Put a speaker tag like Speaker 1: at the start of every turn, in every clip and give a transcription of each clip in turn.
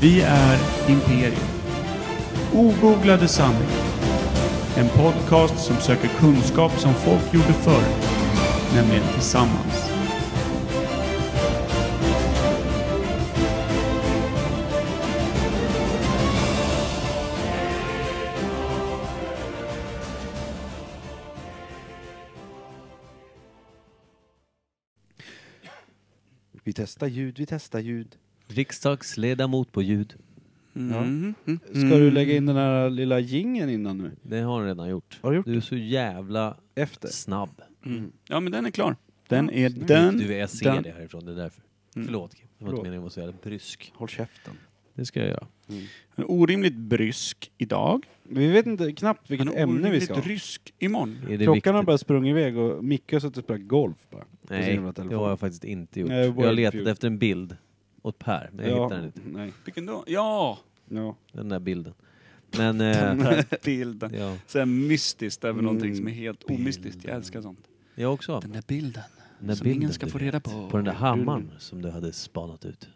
Speaker 1: Vi är Imperium. Ogooglade sanningar. En podcast som söker kunskap som folk gjorde förr, nämligen tillsammans.
Speaker 2: Vi testar ljud, vi testar ljud.
Speaker 3: Riksdagsledamot på ljud.
Speaker 1: Mm.
Speaker 2: Ska du lägga in den här lilla gingen innan nu?
Speaker 3: Det har han redan gjort.
Speaker 2: Har du gjort
Speaker 3: du är så jävla
Speaker 2: Efter?
Speaker 3: snabb.
Speaker 1: Mm. Ja, men den är klar. Den är den.
Speaker 3: Du, jag ser
Speaker 1: den.
Speaker 3: det härifrån, det är därför. Förlåt Kim, det var inte meningen att vara så jävla brysk.
Speaker 2: Håll käften.
Speaker 3: Det ska jag göra.
Speaker 1: En orimligt brysk idag.
Speaker 2: Vi vet inte knappt vilket
Speaker 1: En
Speaker 2: ämne vi
Speaker 1: orimligt
Speaker 2: ska ha.
Speaker 1: rysk imorgon.
Speaker 3: Är det
Speaker 2: Klockan
Speaker 3: viktigt?
Speaker 2: har bara sprungit iväg och Micke har suttit och spelat golf bara. på sin
Speaker 3: Nej,
Speaker 2: jävla
Speaker 3: det
Speaker 2: telefon.
Speaker 3: har jag faktiskt inte gjort.
Speaker 2: Nej,
Speaker 3: jag har
Speaker 2: World
Speaker 3: letat
Speaker 2: View.
Speaker 3: efter en bild åt Per, men jag
Speaker 2: Ja,
Speaker 3: hittade den inte.
Speaker 2: Nej.
Speaker 1: Vilken då? Ja!
Speaker 2: Ja.
Speaker 3: Den där bilden. Men...
Speaker 1: Den
Speaker 3: Eh,
Speaker 1: här bilden.
Speaker 3: ja.
Speaker 1: Sen mystiskt över
Speaker 2: Mm.
Speaker 1: någonting som är helt omystiskt. Jag älskar sånt.
Speaker 3: Jag också.
Speaker 1: Den där bilden.
Speaker 3: Den där
Speaker 1: som
Speaker 3: bilden
Speaker 1: ingen ska
Speaker 3: du
Speaker 1: få
Speaker 3: vet.
Speaker 1: reda på.
Speaker 3: På den där hammaren som du hade spanat ut.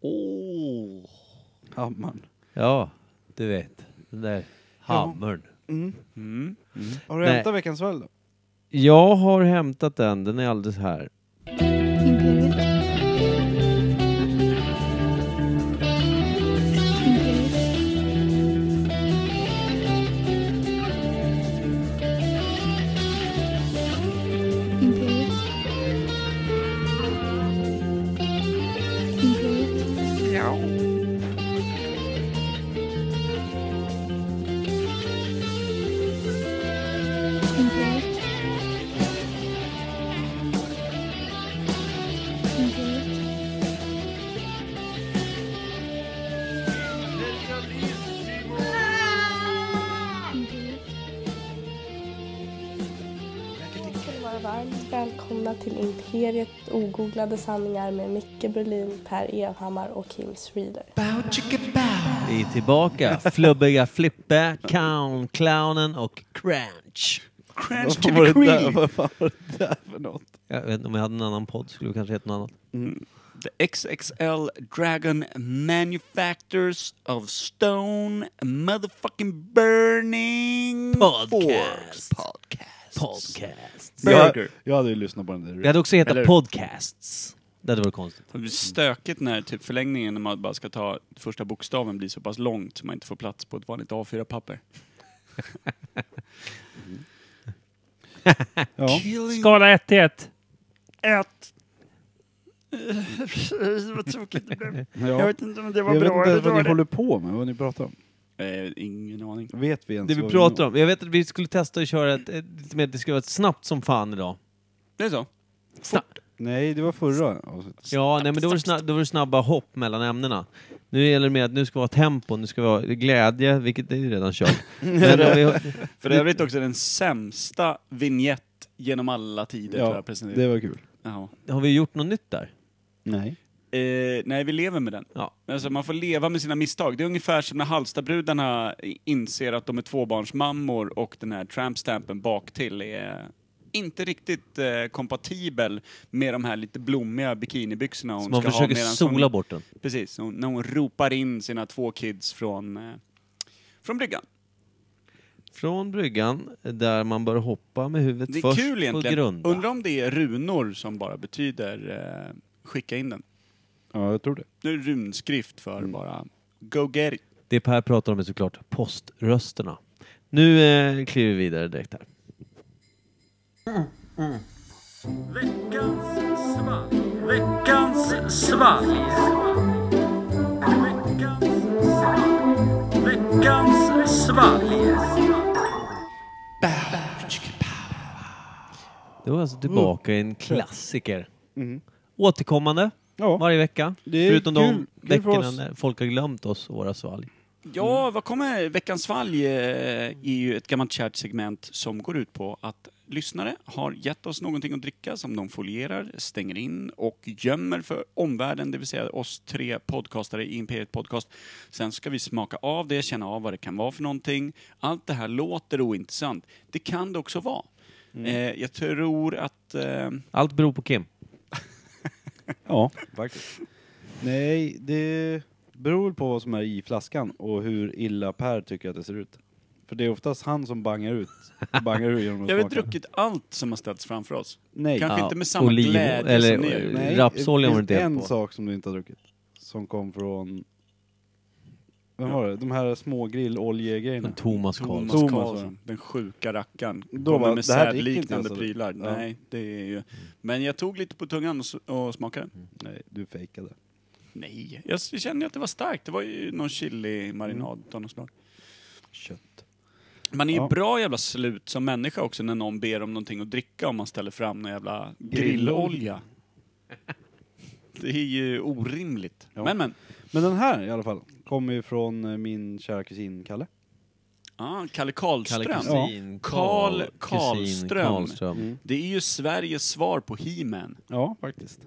Speaker 1: Åh!
Speaker 2: Hammaren.
Speaker 3: Ja, du vet. Den där hammaren.
Speaker 1: Mm.
Speaker 2: Har du
Speaker 3: Nej.
Speaker 2: hämtat veckans val då?
Speaker 3: Jag har hämtat den, den är alldeles här.
Speaker 4: Imperiet. Imperiet. Imperiet. Imperiet. Imperiet. Imperiet.
Speaker 5: ska ni vara varmt välkomna till Imperiet ogooglade sanningar med Micke Berlin, Per Evhammar och Kim Reader.
Speaker 3: Vi är tillbaka. Flubbiga Flippe, Clown, Clownen och Crunch.
Speaker 1: Crunch
Speaker 2: Vad var det där- vad fan var det där för något?
Speaker 3: Jag vet, inte, om jag hade en annan podd skulle vi kanske heta något annat.
Speaker 1: The XXL Dragon Manufacturers of Stone Motherfucking Burning
Speaker 3: Podcast.
Speaker 1: Force Podcast.
Speaker 3: Podcasts.
Speaker 1: Burger.
Speaker 2: Jag, jag hade ju lyssnat på den där.
Speaker 3: Det hade också hetat
Speaker 1: Eller-
Speaker 3: Podcasts. Det hade varit konstigt.
Speaker 1: Det blir stökigt när typ förlängningen när man bara ska ta första bokstaven blir så pass långt så man inte får plats på ett vanligt A4-papper.
Speaker 2: Ja.
Speaker 6: Skala 1 till 1.
Speaker 1: Ett. Vad tråkigt det blev. Jag
Speaker 2: Ja.
Speaker 1: vet inte om det
Speaker 2: Jag
Speaker 1: var
Speaker 2: vet
Speaker 1: bra eller
Speaker 2: inte vad ni
Speaker 1: dåligt.
Speaker 2: håller på med, vad ni pratar om.
Speaker 1: Eh, ingen aning.
Speaker 2: Vet vi ens
Speaker 3: Det vi pratar om. Jag vet att vi skulle testa att köra ett, ett, lite mer- det skulle vara ett snabbt som fan idag.
Speaker 1: Det är så?
Speaker 3: Snabbt.
Speaker 2: Nej, det var förra avsnittet.
Speaker 3: Ja, nej, men då var, det snabba, då var det snabba hopp mellan ämnena. Nu gäller det mer att nu ska vi ha tempo, nu ska vi ha glädje, vilket det är ju redan kört. Men om vi,
Speaker 1: För övrigt också den sämsta vignett genom alla tider tror
Speaker 2: Ja,
Speaker 1: jag presenterat.
Speaker 2: det var kul.
Speaker 1: Jaha.
Speaker 3: har vi gjort något nytt där?
Speaker 2: Nej.
Speaker 1: Eh, nej, vi lever med den.
Speaker 3: Ja.
Speaker 1: Alltså, man får leva med sina misstag. Det är ungefär som när Halstabrudarna inser att de är tvåbarnsmammor och den här trampstampen bak till är inte riktigt eh, kompatibel med de här lite blommiga bikinibyxorna hon
Speaker 3: Så man
Speaker 1: ska
Speaker 3: försöker
Speaker 1: ha. medans
Speaker 3: sola
Speaker 1: hon,
Speaker 3: bort den.
Speaker 1: Precis, hon, när hon ropar in sina två kids från, eh, från bryggan.
Speaker 3: Från bryggan, där man bör hoppa med huvudet
Speaker 1: Det är
Speaker 3: först
Speaker 1: kul
Speaker 3: på
Speaker 1: egentligen.
Speaker 3: grunda.
Speaker 1: Undrar om det är runor som bara betyder eh, skicka in den.
Speaker 2: Ja, jag tror det.
Speaker 1: Det är runskrift för
Speaker 3: Mm.
Speaker 1: bara go get it.
Speaker 3: Det Per pratar om är såklart poströsterna. Nu eh, kliver vi vidare direkt här. Det var alltså tillbaka i
Speaker 2: Mm.
Speaker 3: en klassiker. Återkommande
Speaker 2: Ja.
Speaker 3: varje vecka.
Speaker 2: Det är
Speaker 3: förutom
Speaker 2: kul-
Speaker 3: de
Speaker 2: kul för
Speaker 3: veckorna
Speaker 2: oss.
Speaker 3: när folk har glömt oss och våra svalg.
Speaker 1: Ja, vad kommer veckans svalg? eh, är ju ett gammalt kärt segment som går ut på att lyssnare har gett oss någonting att dricka som de folierar, stänger in och gömmer för omvärlden, det vill säga oss tre podcastare i Imperiet Podcast. Sen ska vi smaka av det, känna av vad det kan vara för någonting. Allt det här låter ointressant. Det kan det också vara. Eh, jag tror att... Eh,
Speaker 3: Allt beror på Kim.
Speaker 2: Ja, faktiskt. Nej, det beror väl på vad som är i flaskan och hur illa Per tycker att det ser ut. För det är oftast han som bangar ut, bangar ur genom att
Speaker 1: Jag har
Speaker 2: smaka.
Speaker 1: druckit allt som har ställts framför oss.
Speaker 2: Nej.
Speaker 1: Kanske inte med samma
Speaker 3: oliv-
Speaker 1: glädje
Speaker 3: eller, eh,
Speaker 1: som ni gör.
Speaker 2: Nej,
Speaker 3: Rapsolja var det
Speaker 2: det
Speaker 3: inte
Speaker 2: inte en
Speaker 3: helt på.
Speaker 2: sak som du inte har druckit. Som kom från... Vem var det? De här små grillolje-grejerna.
Speaker 3: Thomas Karlsson.
Speaker 1: Thomas
Speaker 2: Thomas
Speaker 1: Karlsson,
Speaker 2: Karlsson.
Speaker 1: den sjuka rackaren.
Speaker 2: Då
Speaker 1: Kommer
Speaker 2: bara,
Speaker 1: med
Speaker 2: det här dricker
Speaker 1: sädliknande
Speaker 2: inte jag,
Speaker 1: prylar.
Speaker 2: sa du. Ja.
Speaker 1: Nej, det är ju... Men jag tog lite på tungan och, s- och smakade.
Speaker 2: Nej, du fejkade.
Speaker 1: Nej, jag s- kände att det var starkt. Det var ju någon chili-marinad av något slag.
Speaker 2: Kött.
Speaker 1: Man är ju
Speaker 2: Mm. Ja.
Speaker 1: bra jävla slut som människa också när någon ber om någonting att dricka om man ställer fram någon jävla grillolja. Det är ju orimligt.
Speaker 2: Ja.
Speaker 1: Men men.
Speaker 2: Men den här i alla fall, kommer ju från eh, min kära kusin Kalle.
Speaker 1: Ah,
Speaker 3: Kalle
Speaker 1: Kalle Karlström.
Speaker 2: Kusin.
Speaker 3: Kusin,
Speaker 1: Karl
Speaker 3: Karl-
Speaker 1: Karlström. Mm.
Speaker 3: Kusin Karlström.
Speaker 1: Det är ju Sveriges svar på He-Man.
Speaker 2: Mm. Ja, faktiskt.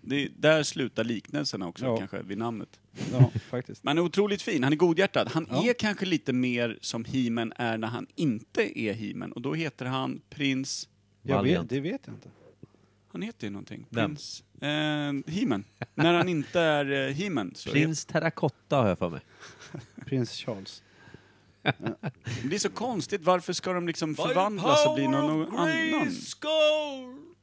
Speaker 1: Det, där slutar liknelserna också
Speaker 2: Ja.
Speaker 1: kanske vid namnet.
Speaker 2: Ja, faktiskt.
Speaker 1: Men han är otroligt fin, han är godhjärtad. Han
Speaker 2: Ja.
Speaker 1: är kanske lite mer som He-Man är när han inte är He-Man. Och då heter han Prins...
Speaker 2: Jag
Speaker 3: Valiant.
Speaker 2: vet, det vet jag inte.
Speaker 1: Han heter ju någonting.
Speaker 3: Vem?
Speaker 1: Prins... Eh, He-Man. när han inte är eh, He-Man. så
Speaker 3: Prins Terracotta har jag för mig.
Speaker 2: Prins Charles.
Speaker 1: heter- Det är så konstigt, varför ska de liksom förvandlas och bli någon, någon annan?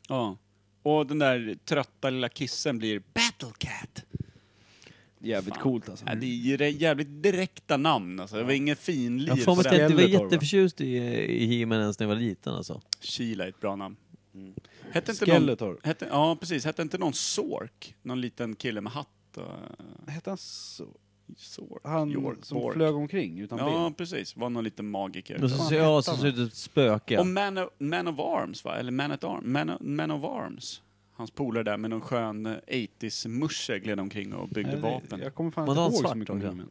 Speaker 1: Ja. Och den där trötta lilla kissen blir Battle Cat.
Speaker 2: Jävligt coolt alltså.
Speaker 1: Ja, det är ju det jävligt direkta namn alltså. Det var ingen finlir.
Speaker 3: Jag får mig att
Speaker 1: på
Speaker 3: jag
Speaker 1: den.
Speaker 3: inte var
Speaker 2: Äldre torv, va?
Speaker 3: jätteförtjust i, i He-Man ens när jag var liten alltså.
Speaker 1: Kila är ett bra namn.
Speaker 3: Mm.
Speaker 1: Hette inte någon,
Speaker 2: Skeletor.
Speaker 1: hette, ja, precis. Hette inte någon Sork? Någon liten kille med hatt? Och,
Speaker 2: Hette han så?
Speaker 1: Sork?
Speaker 2: Han
Speaker 1: York,
Speaker 2: som
Speaker 1: Bork.
Speaker 2: flög omkring utan
Speaker 1: Ja, precis. Var någon liten magiker.
Speaker 3: Men så
Speaker 2: fan
Speaker 3: ser
Speaker 2: hette
Speaker 3: jag så
Speaker 2: han?
Speaker 3: ser ut som ett spöke.
Speaker 1: Och man of, man of Arms, va? Eller Man at Arm, man, of- man of Arms. Hans polare där med någon skön eh, 80s-musche gled omkring och byggde
Speaker 2: ben. Nej, det-
Speaker 1: vapen.
Speaker 2: Jag kommer fan
Speaker 3: Man
Speaker 2: inte
Speaker 3: har en
Speaker 2: ihåg så
Speaker 3: svart
Speaker 2: mycket om
Speaker 3: också.
Speaker 2: He-Man.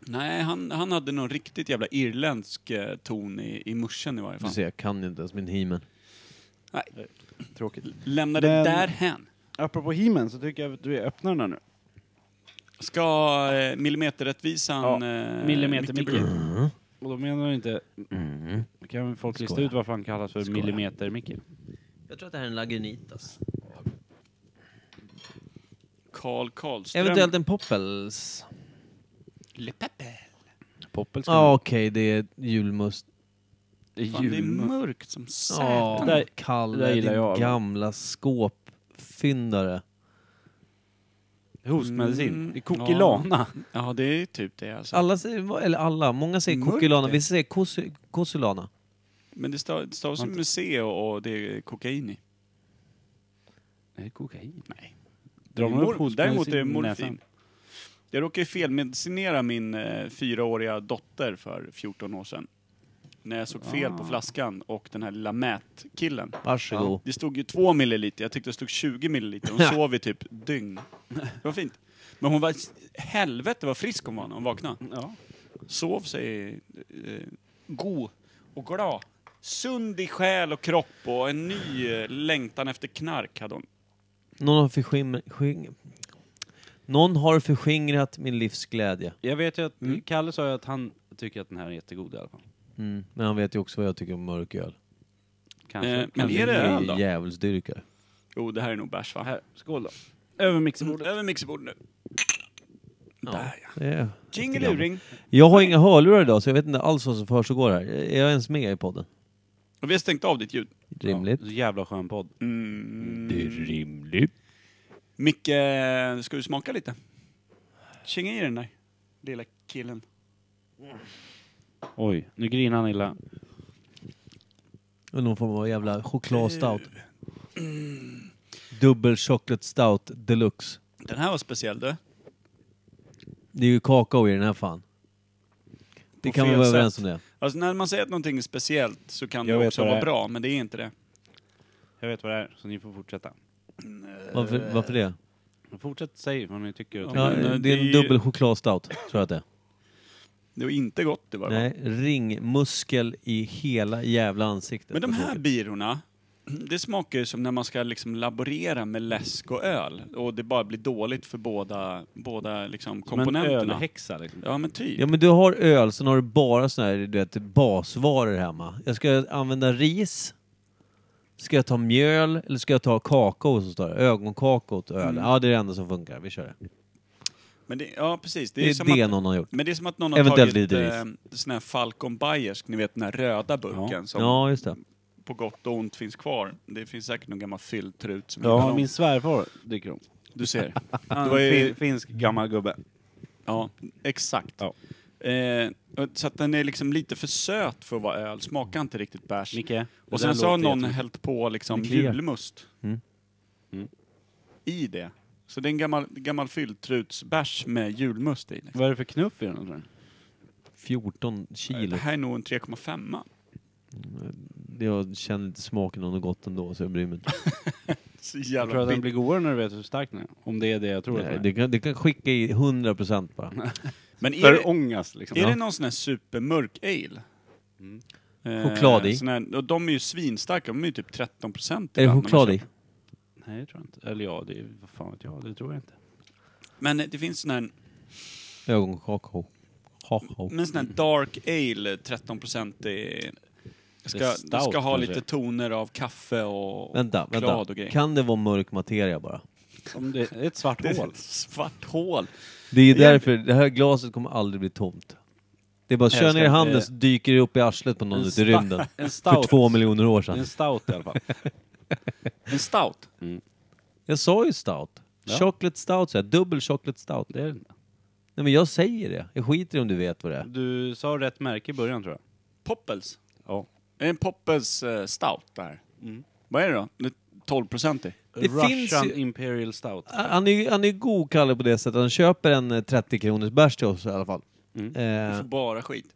Speaker 1: Nej, han, han hade någon riktigt jävla irländsk eh, ton i, i muschen i varje
Speaker 3: Du
Speaker 1: fall.
Speaker 3: ser, jag kan ju inte ens min He-Man.
Speaker 2: Tråkigt.
Speaker 1: Lämna det
Speaker 2: Men-
Speaker 1: därhän.
Speaker 2: Apropå He-Man så tycker jag att du öppnar den här nu.
Speaker 1: Ska eh, millimeterrättvisan... eh,
Speaker 2: millimetermicken.
Speaker 1: Micke-
Speaker 2: Och då menar du inte...
Speaker 3: Mm.
Speaker 2: Kan folk lista
Speaker 3: Skoja.
Speaker 2: ut varför han kallas för
Speaker 3: Skoja.
Speaker 2: millimeter-Micke?
Speaker 3: Jag tror att det här är en lagunitas.
Speaker 1: Karl Karlström.
Speaker 3: Eventuellt en poppels.
Speaker 1: Le Pepe.
Speaker 2: Poppel
Speaker 3: Ja
Speaker 2: ska man-
Speaker 3: Ah, okej, det är julmust.
Speaker 2: Det är
Speaker 1: Fan, det är
Speaker 2: julmust.
Speaker 1: mörkt som
Speaker 3: Ja,
Speaker 1: satan.
Speaker 2: där- det
Speaker 3: Kalle,
Speaker 2: där gillar
Speaker 3: din
Speaker 2: jag.
Speaker 3: gamla skåpfyndare.
Speaker 2: Hostmedicin.
Speaker 1: Mm.
Speaker 2: Det är kokilana.
Speaker 1: Ja, det är typ det alltså.
Speaker 3: Alla säger, eller alla, många säger
Speaker 1: Mörkt
Speaker 3: kokilana,
Speaker 1: det.
Speaker 3: vi säger kos- kosulana.
Speaker 1: Men det stav- det stavas ju med C och, och det är kokain i.
Speaker 2: Nej, kokain.
Speaker 1: Nej.
Speaker 2: Drar man
Speaker 1: Mor-
Speaker 2: upp hostmedicin
Speaker 1: Däremot är det
Speaker 2: i
Speaker 1: morfin.
Speaker 2: näsan?
Speaker 1: Jag råkade ju felmedicinera min eh, fyraåriga dotter för 14 år sedan. När jag såg fel på flaskan och den här lilla mätkillen.
Speaker 3: Varsågod.
Speaker 1: Det stod ju 2 milliliter, jag tyckte det stod 20 milliliter. Hon sov i typ dygn. Det var fint. Men hon var, helvete vad frisk hon var när hon vaknade.
Speaker 2: Ja.
Speaker 1: Sov sig eh, god och glad. Sund i själ och kropp och en ny eh, längtan efter knark hade hon.
Speaker 3: Någon har förskimrat... Någon har förskingrat min livsglädje.
Speaker 2: Jag vet ju att Kalle sa ju att han tycker att den här är jättegod i alla fall.
Speaker 3: Mm. Men han vet ju också vad jag tycker om mörköl.
Speaker 2: Kanske.
Speaker 1: Eh, men
Speaker 2: Kanske.
Speaker 1: är det- öl
Speaker 3: ju
Speaker 1: då?
Speaker 3: djävulsdyrkare.
Speaker 1: Jo, det här är nog bärs va? Mm,
Speaker 2: Här, skål då. Över mixerbordet.
Speaker 1: Över mixerbordet nu.
Speaker 3: Ja,
Speaker 1: Där ja.
Speaker 3: det är-
Speaker 1: Jingeluring.
Speaker 3: jag har inga hörlurar idag så jag vet inte alls vad som försiggår här. Är jag ens med i podden?
Speaker 1: Och vi har stängt av ditt ljud.
Speaker 3: Rimligt.
Speaker 2: Ja, så jävla skön podd.
Speaker 1: Mm.
Speaker 3: rimligt.
Speaker 1: Micke, ska du smaka lite? Tjinga i den där lilla killen.
Speaker 2: Oj, nu grinar han illa.
Speaker 3: Någon form av jävla chokladstout.
Speaker 1: Eh, mm.
Speaker 3: Dubbel chocolate stout deluxe.
Speaker 1: Den här var speciell du.
Speaker 3: Det är ju kakao i den här fan. Det
Speaker 1: På
Speaker 3: kan vi
Speaker 1: fel
Speaker 3: vara
Speaker 1: sätt.
Speaker 3: överens om det.
Speaker 1: Alltså när man säger att någonting är speciellt så kan
Speaker 2: Jag
Speaker 1: det
Speaker 2: vet
Speaker 1: också
Speaker 2: vad det
Speaker 1: vara
Speaker 2: är.
Speaker 1: bra, men det är inte det.
Speaker 2: Jag vet vad det är, så ni får fortsätta.
Speaker 3: Varför, varför det?
Speaker 2: Fortsätt säga vad ni tycker. och
Speaker 1: Ja,
Speaker 3: Ja,
Speaker 1: Eh, men,
Speaker 3: det är
Speaker 1: eh, det är ju-
Speaker 3: en dubbel chokladstout, tror jag att det är.
Speaker 1: Det var inte gott det var.
Speaker 3: Nej, ringmuskel i hela jävla ansiktet.
Speaker 1: Men de
Speaker 3: på
Speaker 1: här
Speaker 3: tåget.
Speaker 1: birorna, det smakar ju som när man ska liksom laborera med läsk och öl och det bara blir dåligt för båda, båda liksom
Speaker 2: Men
Speaker 1: komponenterna.
Speaker 2: ölhäxa liksom.
Speaker 1: ja men typ.
Speaker 3: Ja men du har öl, sen har du bara såna här du vet, basvaror hemma. Jag ska använda ris. Ska jag ta mjöl
Speaker 1: Mm.
Speaker 3: eller ska jag ta kakao som står där? Ögonkakao till öl. Ja det är det enda som funkar, vi kör det.
Speaker 1: Men det, ja, precis. Det är,
Speaker 3: Det är
Speaker 1: som
Speaker 3: det
Speaker 1: att,
Speaker 3: någon har gjort.
Speaker 1: men det är som att någon har
Speaker 3: Eventuellt
Speaker 1: tagit
Speaker 3: lite
Speaker 1: eh, sån här Falcon Bayersk, ni vet den här röda burken som
Speaker 3: Ja, just det.
Speaker 1: på gott och ont finns kvar. Det finns säkert någon gammal fylltrut som gillar
Speaker 2: Ja,
Speaker 1: dem.
Speaker 2: min svärfar dricker dem.
Speaker 1: Du ser.
Speaker 2: Han
Speaker 1: var
Speaker 2: är
Speaker 1: ju-
Speaker 2: fin, finsk gammal gubbe.
Speaker 1: Ja, exakt.
Speaker 2: Ja.
Speaker 1: Eh, och- så att den är liksom lite för söt för att vara öl, smakar inte riktigt bärs.
Speaker 2: Micke?
Speaker 1: Och sen så har någon hällt på liksom
Speaker 3: Det kliar.
Speaker 1: julmust.
Speaker 3: Mm.
Speaker 2: Mm.
Speaker 1: I det. Så det är en gammal, gammal fylltrutsbärs med julmust i. Liksom.
Speaker 2: Vad är det för knuff i den? tror du?
Speaker 3: 14
Speaker 1: Det
Speaker 3: kilo.
Speaker 1: här är nog en 3,5.
Speaker 3: Mm, Jag känner inte smaken av något gott ändå, så jag bryr mig inte.
Speaker 1: Så
Speaker 2: Jag tror
Speaker 1: jävla
Speaker 2: att den
Speaker 1: blir...
Speaker 2: blir godare när du vet hur stark den är. Om det är det Mm. jag tror
Speaker 3: Nej,
Speaker 2: att
Speaker 3: det,
Speaker 2: den
Speaker 3: kan, det kan skicka i 100% bara.
Speaker 1: Men
Speaker 2: är.
Speaker 1: är det,
Speaker 2: För ångest liksom.
Speaker 1: är
Speaker 2: Ja.
Speaker 1: det någon sån här supermörk ale?
Speaker 2: Mm.
Speaker 1: Eh,
Speaker 3: Choklad i.
Speaker 1: sån här, och de är ju svinstarka, de är ju typ 13 procent.
Speaker 3: Är det choklad i?
Speaker 2: Nej, det tror jag inte. Eller ja, det är, vad fan vet jag, det tror jag inte.
Speaker 1: Men eh, det finns sån här,
Speaker 3: Ögonkakao. Kakao.
Speaker 1: men sån här dark ale, 13 procent. Ska,
Speaker 2: stout,
Speaker 1: den ska ha
Speaker 2: kanske.
Speaker 1: lite toner av kaffe och
Speaker 3: Vänta,
Speaker 1: choklad
Speaker 3: vänta.
Speaker 1: och grejer.
Speaker 3: Kan det vara mörk materia bara?
Speaker 2: Om det är ett svart
Speaker 1: Det är
Speaker 2: hål.
Speaker 1: ett svart hål.
Speaker 3: Det är därför det här glaset kommer aldrig bli tomt. Det är bara
Speaker 2: Jag
Speaker 3: kör ner i
Speaker 2: ska-
Speaker 3: handen
Speaker 2: eh,
Speaker 3: så dyker det upp i arslet på någon
Speaker 2: en
Speaker 3: ute i
Speaker 2: sta-
Speaker 3: rymden.
Speaker 2: en
Speaker 3: För
Speaker 2: stout.
Speaker 3: två miljoner år
Speaker 2: Det är
Speaker 3: sedan.
Speaker 2: en stout i alla fall.
Speaker 1: En stout.
Speaker 3: Jag sa ju stout.
Speaker 2: Ja.
Speaker 3: Chocolate stout sa jag. Dubbel chocolate stout.
Speaker 2: Det är det inte.
Speaker 3: Nej men jag säger det. Jag skiter i om du vet vad det är.
Speaker 2: Du sa rätt märke i början tror jag.
Speaker 1: Poppels.
Speaker 2: Ja.
Speaker 1: Det är en Poppels eh, stout där. Vad är det då? Det är 12 procent i.
Speaker 3: Det
Speaker 2: Russian
Speaker 3: finns ju-
Speaker 2: Imperial Stout.
Speaker 3: Han är ju han är ju god Kalle på det sättet. Han köper en eh, 30 kronors bärs till oss i alla fall.
Speaker 1: Du
Speaker 3: Eh,
Speaker 1: får bara skit.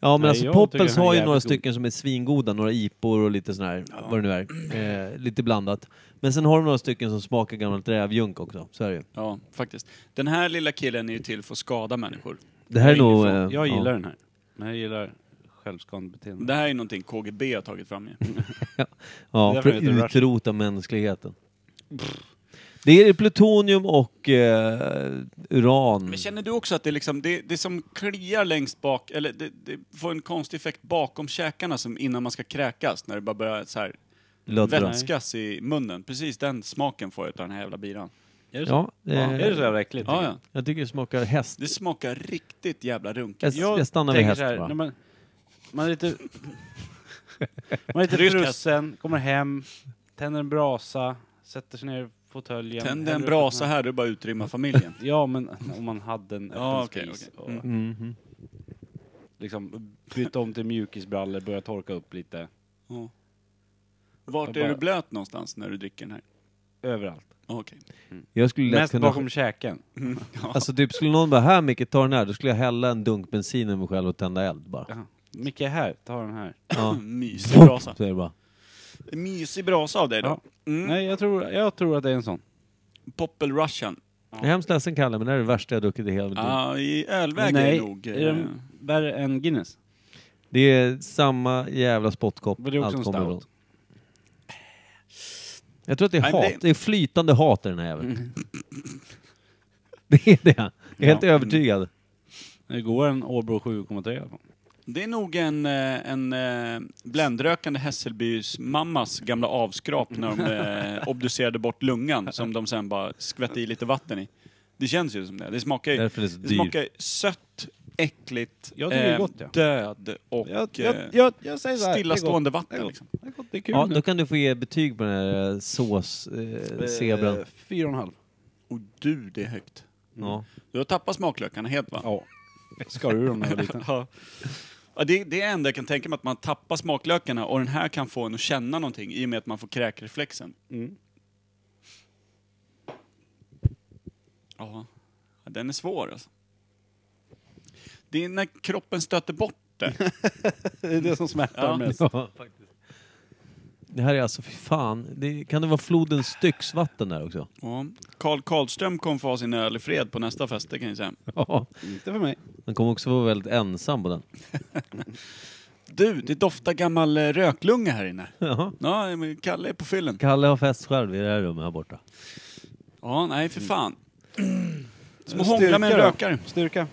Speaker 3: ja men
Speaker 2: Mm. Nej,
Speaker 3: alltså
Speaker 2: jag
Speaker 3: Poppels
Speaker 2: tycker han är
Speaker 3: har ju
Speaker 2: jävligt
Speaker 3: några
Speaker 2: god.
Speaker 3: stycken som är svingoda. Några ipor och lite sån här, vad det nu är. Eh, lite blandat. Men sen har de några stycken som smakar gammalt rävjunk också. Så är det ju.
Speaker 1: Ja, faktiskt. Den här lilla killen är ju till för att skada människor.
Speaker 3: Det här är
Speaker 1: Jag är
Speaker 3: nog...
Speaker 1: ingen
Speaker 3: eh,
Speaker 2: Jag gillar
Speaker 3: ja.
Speaker 2: den här. Men jag gillar självskadebeteende.
Speaker 1: Det här är någonting KGB har tagit fram ju.
Speaker 2: Mm.
Speaker 3: Ja,
Speaker 2: Därför
Speaker 3: för att
Speaker 2: heter det Russian.
Speaker 3: utrota mänskligheten. Det är plutonium och eh, uran.
Speaker 1: Men känner du också att det, är liksom, det, det som kliar längst bak, eller det, det får en konstig effekt bakom käkarna som innan man ska kräkas, när det bara börjar så här
Speaker 3: Löddra.
Speaker 1: vätskas i munnen. Precis den smaken får jag utav den här jävla biran.
Speaker 2: Är det så?
Speaker 3: Ja, eh,
Speaker 2: Är det så jävla äckligt?
Speaker 1: Ja, ja.
Speaker 3: Jag tycker det smakar häst.
Speaker 1: Det smakar riktigt jävla runkigt.
Speaker 3: Jag, jag stannar vid
Speaker 2: tänker
Speaker 3: häst
Speaker 2: så här,
Speaker 3: bara.
Speaker 2: när man, man är lite... man är lite
Speaker 1: Rysk
Speaker 2: frusen, kommer hem, tänder en brasa, sätter sig ner i fåtöljen.
Speaker 1: Tänd
Speaker 2: häller
Speaker 1: en
Speaker 2: upp
Speaker 1: brasa
Speaker 2: den
Speaker 1: här, du bara utrymma familjen.
Speaker 2: Ja, men om man hade en öppen
Speaker 1: Ja, okej,
Speaker 2: spis.
Speaker 1: okej. Mm.
Speaker 2: Och
Speaker 3: Mhm.
Speaker 2: liksom byta om till mjukisbrallor, börja torka upp lite.
Speaker 1: Ja. Vart
Speaker 2: Jag
Speaker 1: är
Speaker 2: bara-
Speaker 1: du blöt någonstans när du dricker den här?
Speaker 2: Överallt.
Speaker 1: Ja, Okej.
Speaker 3: Jag skulle lätt
Speaker 2: Mest
Speaker 3: kunna...
Speaker 2: bakom käken.
Speaker 3: Alltså typ skulle någon bara här Micke, ta den här. Då skulle jag hälla en dunk bensin över mig själv och tända eld bara.
Speaker 2: Jaha. Micke här, ta den här.
Speaker 3: Ja.
Speaker 1: Mm. Mysig brasa.
Speaker 3: Så är det bara.
Speaker 1: Mysig brasa av dig då. Mm.
Speaker 2: Nej, jag tror, jag tror att det är en sån.
Speaker 1: Poppel Russian.
Speaker 3: Jag är hemskt ledsen Kalle, men det här är det värsta jag druckit i hela mitt liv.
Speaker 1: Ja, Ah, I ölväg är det
Speaker 2: Nej,
Speaker 1: nog...
Speaker 2: är
Speaker 1: eh,
Speaker 2: den värre än Guinness?
Speaker 3: Det är samma jävla spottkopp.
Speaker 2: Men det är också en
Speaker 3: Allt kommer
Speaker 2: stout.
Speaker 3: ifrån. Jag tror att det är
Speaker 1: Nej, men
Speaker 3: hat.
Speaker 1: det-
Speaker 3: Det... är flytande hat i den här jäveln. Det är det. Jag är helt
Speaker 2: Ja.
Speaker 3: övertygad.
Speaker 2: Det går en Åbro 7,3 i alla fall.
Speaker 1: Det är nog en, eh, en eh, bländrökande Hässelbys mammas gamla avskrap när de eh, obducerade bort lungan som de sen bara skvätte i lite vatten i. Det känns ju som det. Det smakar ju
Speaker 3: Därför är det så
Speaker 1: det
Speaker 3: dyrt.
Speaker 1: smakar sött, äckligt,
Speaker 2: Jag tycker det är gott, ja.
Speaker 1: död och eh,
Speaker 2: jag, säger
Speaker 1: stillastående
Speaker 2: Det är
Speaker 1: vatten.
Speaker 2: gott.
Speaker 1: Liksom.
Speaker 2: Det är gott, det är kul.
Speaker 3: Ja, då kan du få ge betyg på den här sås-zebran. Eh, zebran.
Speaker 1: mm.
Speaker 2: Fyra och en halv.
Speaker 1: Och du, det är högt.
Speaker 3: ja.
Speaker 1: Du har tappat smaklökarna helt va?
Speaker 2: Ja. Skar ur dem när jag var liten.
Speaker 1: Ja. Ja, det, det är det enda jag kan tänka mig, att man tappar smaklökarna och den här kan få en att känna någonting i och med att man får kräkreflexen.
Speaker 2: Mm.
Speaker 1: Ja, Ja, den är svår alltså. Det är när kroppen stöter bort det.
Speaker 2: Det är det som smärtar
Speaker 1: Ja.
Speaker 2: mest.
Speaker 3: ja, faktiskt. Det här är alltså, fy fan. Det, kan det vara floden Styxvatten där också?
Speaker 1: Ja. Karl Karlström kommer få ha sin öl i fred på nästa fest, det kan jag säga.
Speaker 3: Ja.
Speaker 2: Inte för mig.
Speaker 3: Han kommer också vara väldigt ensam på den.
Speaker 1: Du, det doftar gammal eh, röklunga här inne.
Speaker 3: Jaha.
Speaker 1: Ja, men Kalle är på fyllen.
Speaker 3: Kalle har fest själv i det här rummet här borta.
Speaker 1: Ja, nej för fan. Som att hångla med
Speaker 2: Styrka
Speaker 1: en
Speaker 2: då.
Speaker 1: rökare.
Speaker 2: Styrka.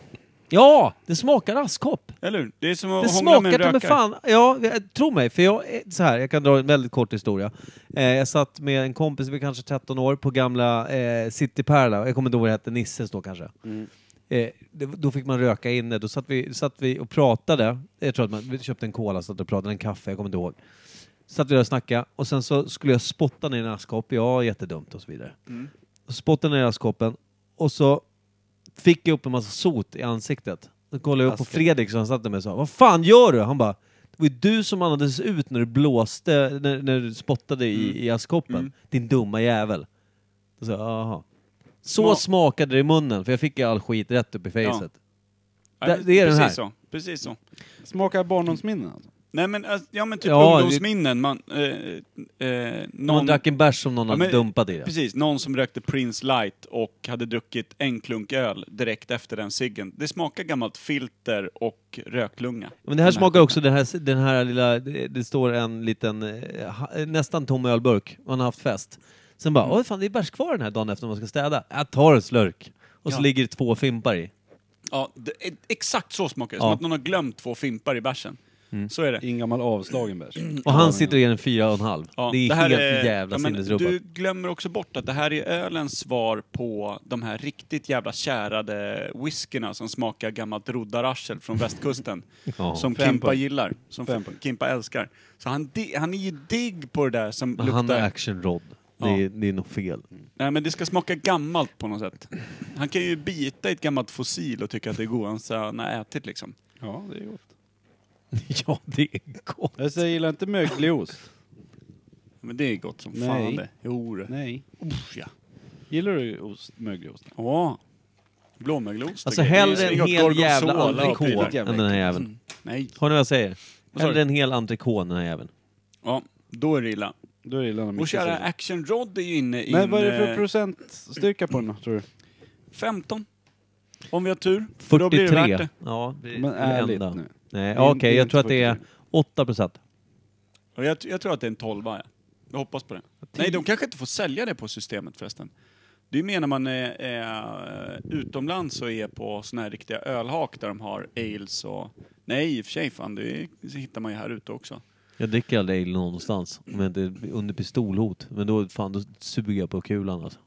Speaker 3: Ja! Det smakar askkopp!
Speaker 1: Eller hur? Det är som att
Speaker 3: Det
Speaker 1: hångla med en
Speaker 3: smakar ta
Speaker 1: rökare.
Speaker 3: mig fan... Ja, jag- tro mig. För jag, eh, så här, jag kan dra en väldigt kort historia. Eh, jag satt med en kompis, vi var kanske 13 år, på gamla eh, City Perla. Jag kommer inte ihåg vad det hette, Nisses då kanske. Eh, det, då fick man röka inne. Då satt vi, satt vi och pratade. Jag tror att man vi köpte en cola, satt och pratade, en kaffe, jag kommer inte ihåg. Satt vi där och snackade och sen så skulle jag spotta ner i en askkopp. Ja, jättedumt och så vidare. Spottade ner i askkoppen och så fick jag upp en massa sot i ansiktet. Då kollade jag upp på
Speaker 2: Asken.
Speaker 3: Fredrik som satt där med och sa Vad fan gör du? Han bara Det var ju du som andades ut när du blåste, när, när du spottade i,
Speaker 1: Mm.
Speaker 3: i askkoppen. Din dumma jävel. Då sa jag, aha. Så
Speaker 1: Ja.
Speaker 3: smakade det i munnen, för jag fick ju all skit rätt upp i facet.
Speaker 1: Ja,
Speaker 3: Det- det är den
Speaker 1: precis
Speaker 3: här.
Speaker 1: Så. Precis så.
Speaker 2: Smakar barndomsminnen alltså.
Speaker 1: Nej men, alltså, ja, men typ
Speaker 3: Ja,
Speaker 1: ungdomsminnen. Man, eh, eh,
Speaker 3: Någon
Speaker 1: någon,
Speaker 3: drack en bärs som någon
Speaker 1: Ja,
Speaker 3: hade
Speaker 1: men-
Speaker 3: dumpat i det.
Speaker 1: precis, någon som rökte Prince Light och hade druckit en klunk öl direkt efter den ciggen. Det smakar gammalt filter och röklunga.
Speaker 3: Men det här
Speaker 1: Den
Speaker 3: smakar också
Speaker 1: typen.
Speaker 3: den här, den här lilla, det det står en liten, eh, ha- nästan tom ölburk, man har haft fest. Sen bara,
Speaker 1: Mm.
Speaker 3: åh fan det är bärs kvar den här dagen efter man ska städa. Jag tar en slurk. Och så
Speaker 1: Ja.
Speaker 3: ligger det två fimpar i.
Speaker 1: Ja, det, e- exakt så smakar det.
Speaker 3: Ja. Mm.
Speaker 1: Som att någon har glömt två fimpar i bärsen. Så är det.
Speaker 2: I en gammal avslagen bärs.
Speaker 3: Och han sitter i en fyra och en halv.
Speaker 1: Ja,
Speaker 3: det är
Speaker 1: här
Speaker 3: helt
Speaker 1: är-
Speaker 3: jävla
Speaker 1: ja, men
Speaker 3: sinnesrubbat.
Speaker 1: Du glömmer också bort att det här är ölens svar på de här riktigt jävla kärade whiskyna som smakar gammalt roddararsel från västkusten.
Speaker 3: Ja.
Speaker 1: Som
Speaker 2: Fem
Speaker 1: Kimpa
Speaker 2: punkt.
Speaker 1: gillar, som
Speaker 2: Fem punkt.
Speaker 1: Kimpa älskar. Så han, di- han är ju digg på det där som
Speaker 3: Men
Speaker 1: luktar...
Speaker 3: han är action-rod. Det, är-
Speaker 1: Ja. Mm.
Speaker 3: det är nog fel.
Speaker 1: Nej men det ska smaka gammalt på något sätt. Han kan ju bita i ett gammalt fossil och tycka att det är godare än han har ätit liksom.
Speaker 2: Ja, det är gott.
Speaker 3: ja, det är gott.
Speaker 2: Jag säger, jag gillar inte mögelost.
Speaker 1: Men det är gott som
Speaker 2: Nej.
Speaker 1: fan det. Jo det.
Speaker 2: Nej.
Speaker 1: Usch, ja.
Speaker 2: Gillar du ost, mögelost?
Speaker 1: Ja. Blåmögelost.
Speaker 3: Alltså
Speaker 1: tycker jag. Det
Speaker 3: hellre
Speaker 1: är
Speaker 3: en
Speaker 1: gott.
Speaker 3: hel jävla
Speaker 1: Gorgonzola och prylar.
Speaker 3: entrecote än den här jäveln.
Speaker 1: Nej.
Speaker 3: Hör ni vad jag säger?
Speaker 1: Vad sa
Speaker 3: Hellre en hel entrecote än den här jäveln.
Speaker 1: Ja, då är det illa.
Speaker 2: Då gillar han
Speaker 1: Och
Speaker 2: mycket.
Speaker 1: kära
Speaker 2: säkert.
Speaker 1: Action Rod är ju inne i
Speaker 2: Men vad är det för
Speaker 1: eh,
Speaker 2: procentstyrka på den då, tror du?
Speaker 1: 15. Om vi har tur. För Då blir det värt
Speaker 3: 43.
Speaker 1: det.
Speaker 3: Ja, det är
Speaker 2: Men
Speaker 3: det
Speaker 2: ärligt
Speaker 3: enda.
Speaker 2: nu.
Speaker 3: Nej,
Speaker 2: Det är-
Speaker 3: okej,
Speaker 2: det är
Speaker 3: jag
Speaker 2: inte
Speaker 3: tror att det är
Speaker 2: 43.
Speaker 3: 8 procent.
Speaker 1: Och jag, jag tror att det är en 12 ja. Jag hoppas på det. Nej, de kanske inte får sälja det på systemet förresten. Det är ju mer när man är, är eh, utomlands och är på såna här riktiga ölhak där de har ales och... Nej, i och för sig fan, det är, så hittar man ju här ute också.
Speaker 3: Jag dricker aldrig ale någonstans, om jag inte är under pistolhot. Men då, fan, då suger jag på kulan alltså.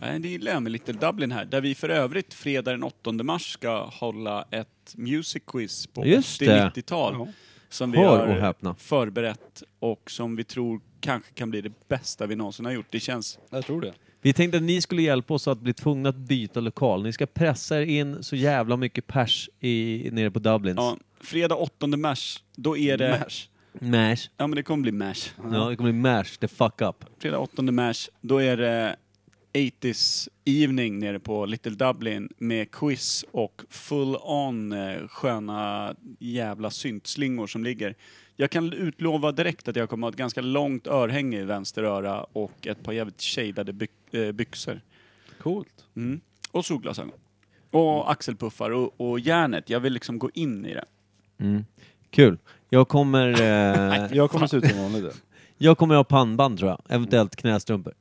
Speaker 1: Nej, det gillar jag med Little Dublin här, där vi för övrigt fredag den 8 mars ska hålla ett music quiz på
Speaker 3: Just det.
Speaker 1: 80-90-tal.
Speaker 2: Ja.
Speaker 1: Som vi
Speaker 3: Hör och
Speaker 1: har
Speaker 3: häpna.
Speaker 1: förberett och som vi tror kanske kan bli det bästa vi någonsin har gjort. Det känns...
Speaker 2: Jag tror det.
Speaker 3: Vi tänkte att ni skulle hjälpa oss att bli tvungna att byta lokal. Ni ska pressa er in så jävla mycket pers i, nere på Dublins.
Speaker 1: Ja, fredag 8 mars, då är det...
Speaker 3: Mash.
Speaker 1: Ja men det kommer bli mash.
Speaker 3: Ja, det kommer bli mash the fuck up.
Speaker 1: Fredag 8 mars, då är det 80s evening nere på Little Dublin med quiz och full on eh, sköna jävla syntslingor som ligger. Jag kan utlova direkt att jag kommer ha ett ganska långt örhänge i vänster öra och ett par jävligt shadade by- eh, byxor.
Speaker 2: Coolt.
Speaker 1: Mm. Och solglasögon. Och axelpuffar och, och järnet. Jag vill liksom gå in i det.
Speaker 3: Mm. Kul. Jag kommer, eh,
Speaker 2: Jag kommer se ut som vanligt. då.
Speaker 3: jag kommer ha pannband tror jag. Eventuellt knästrumpor.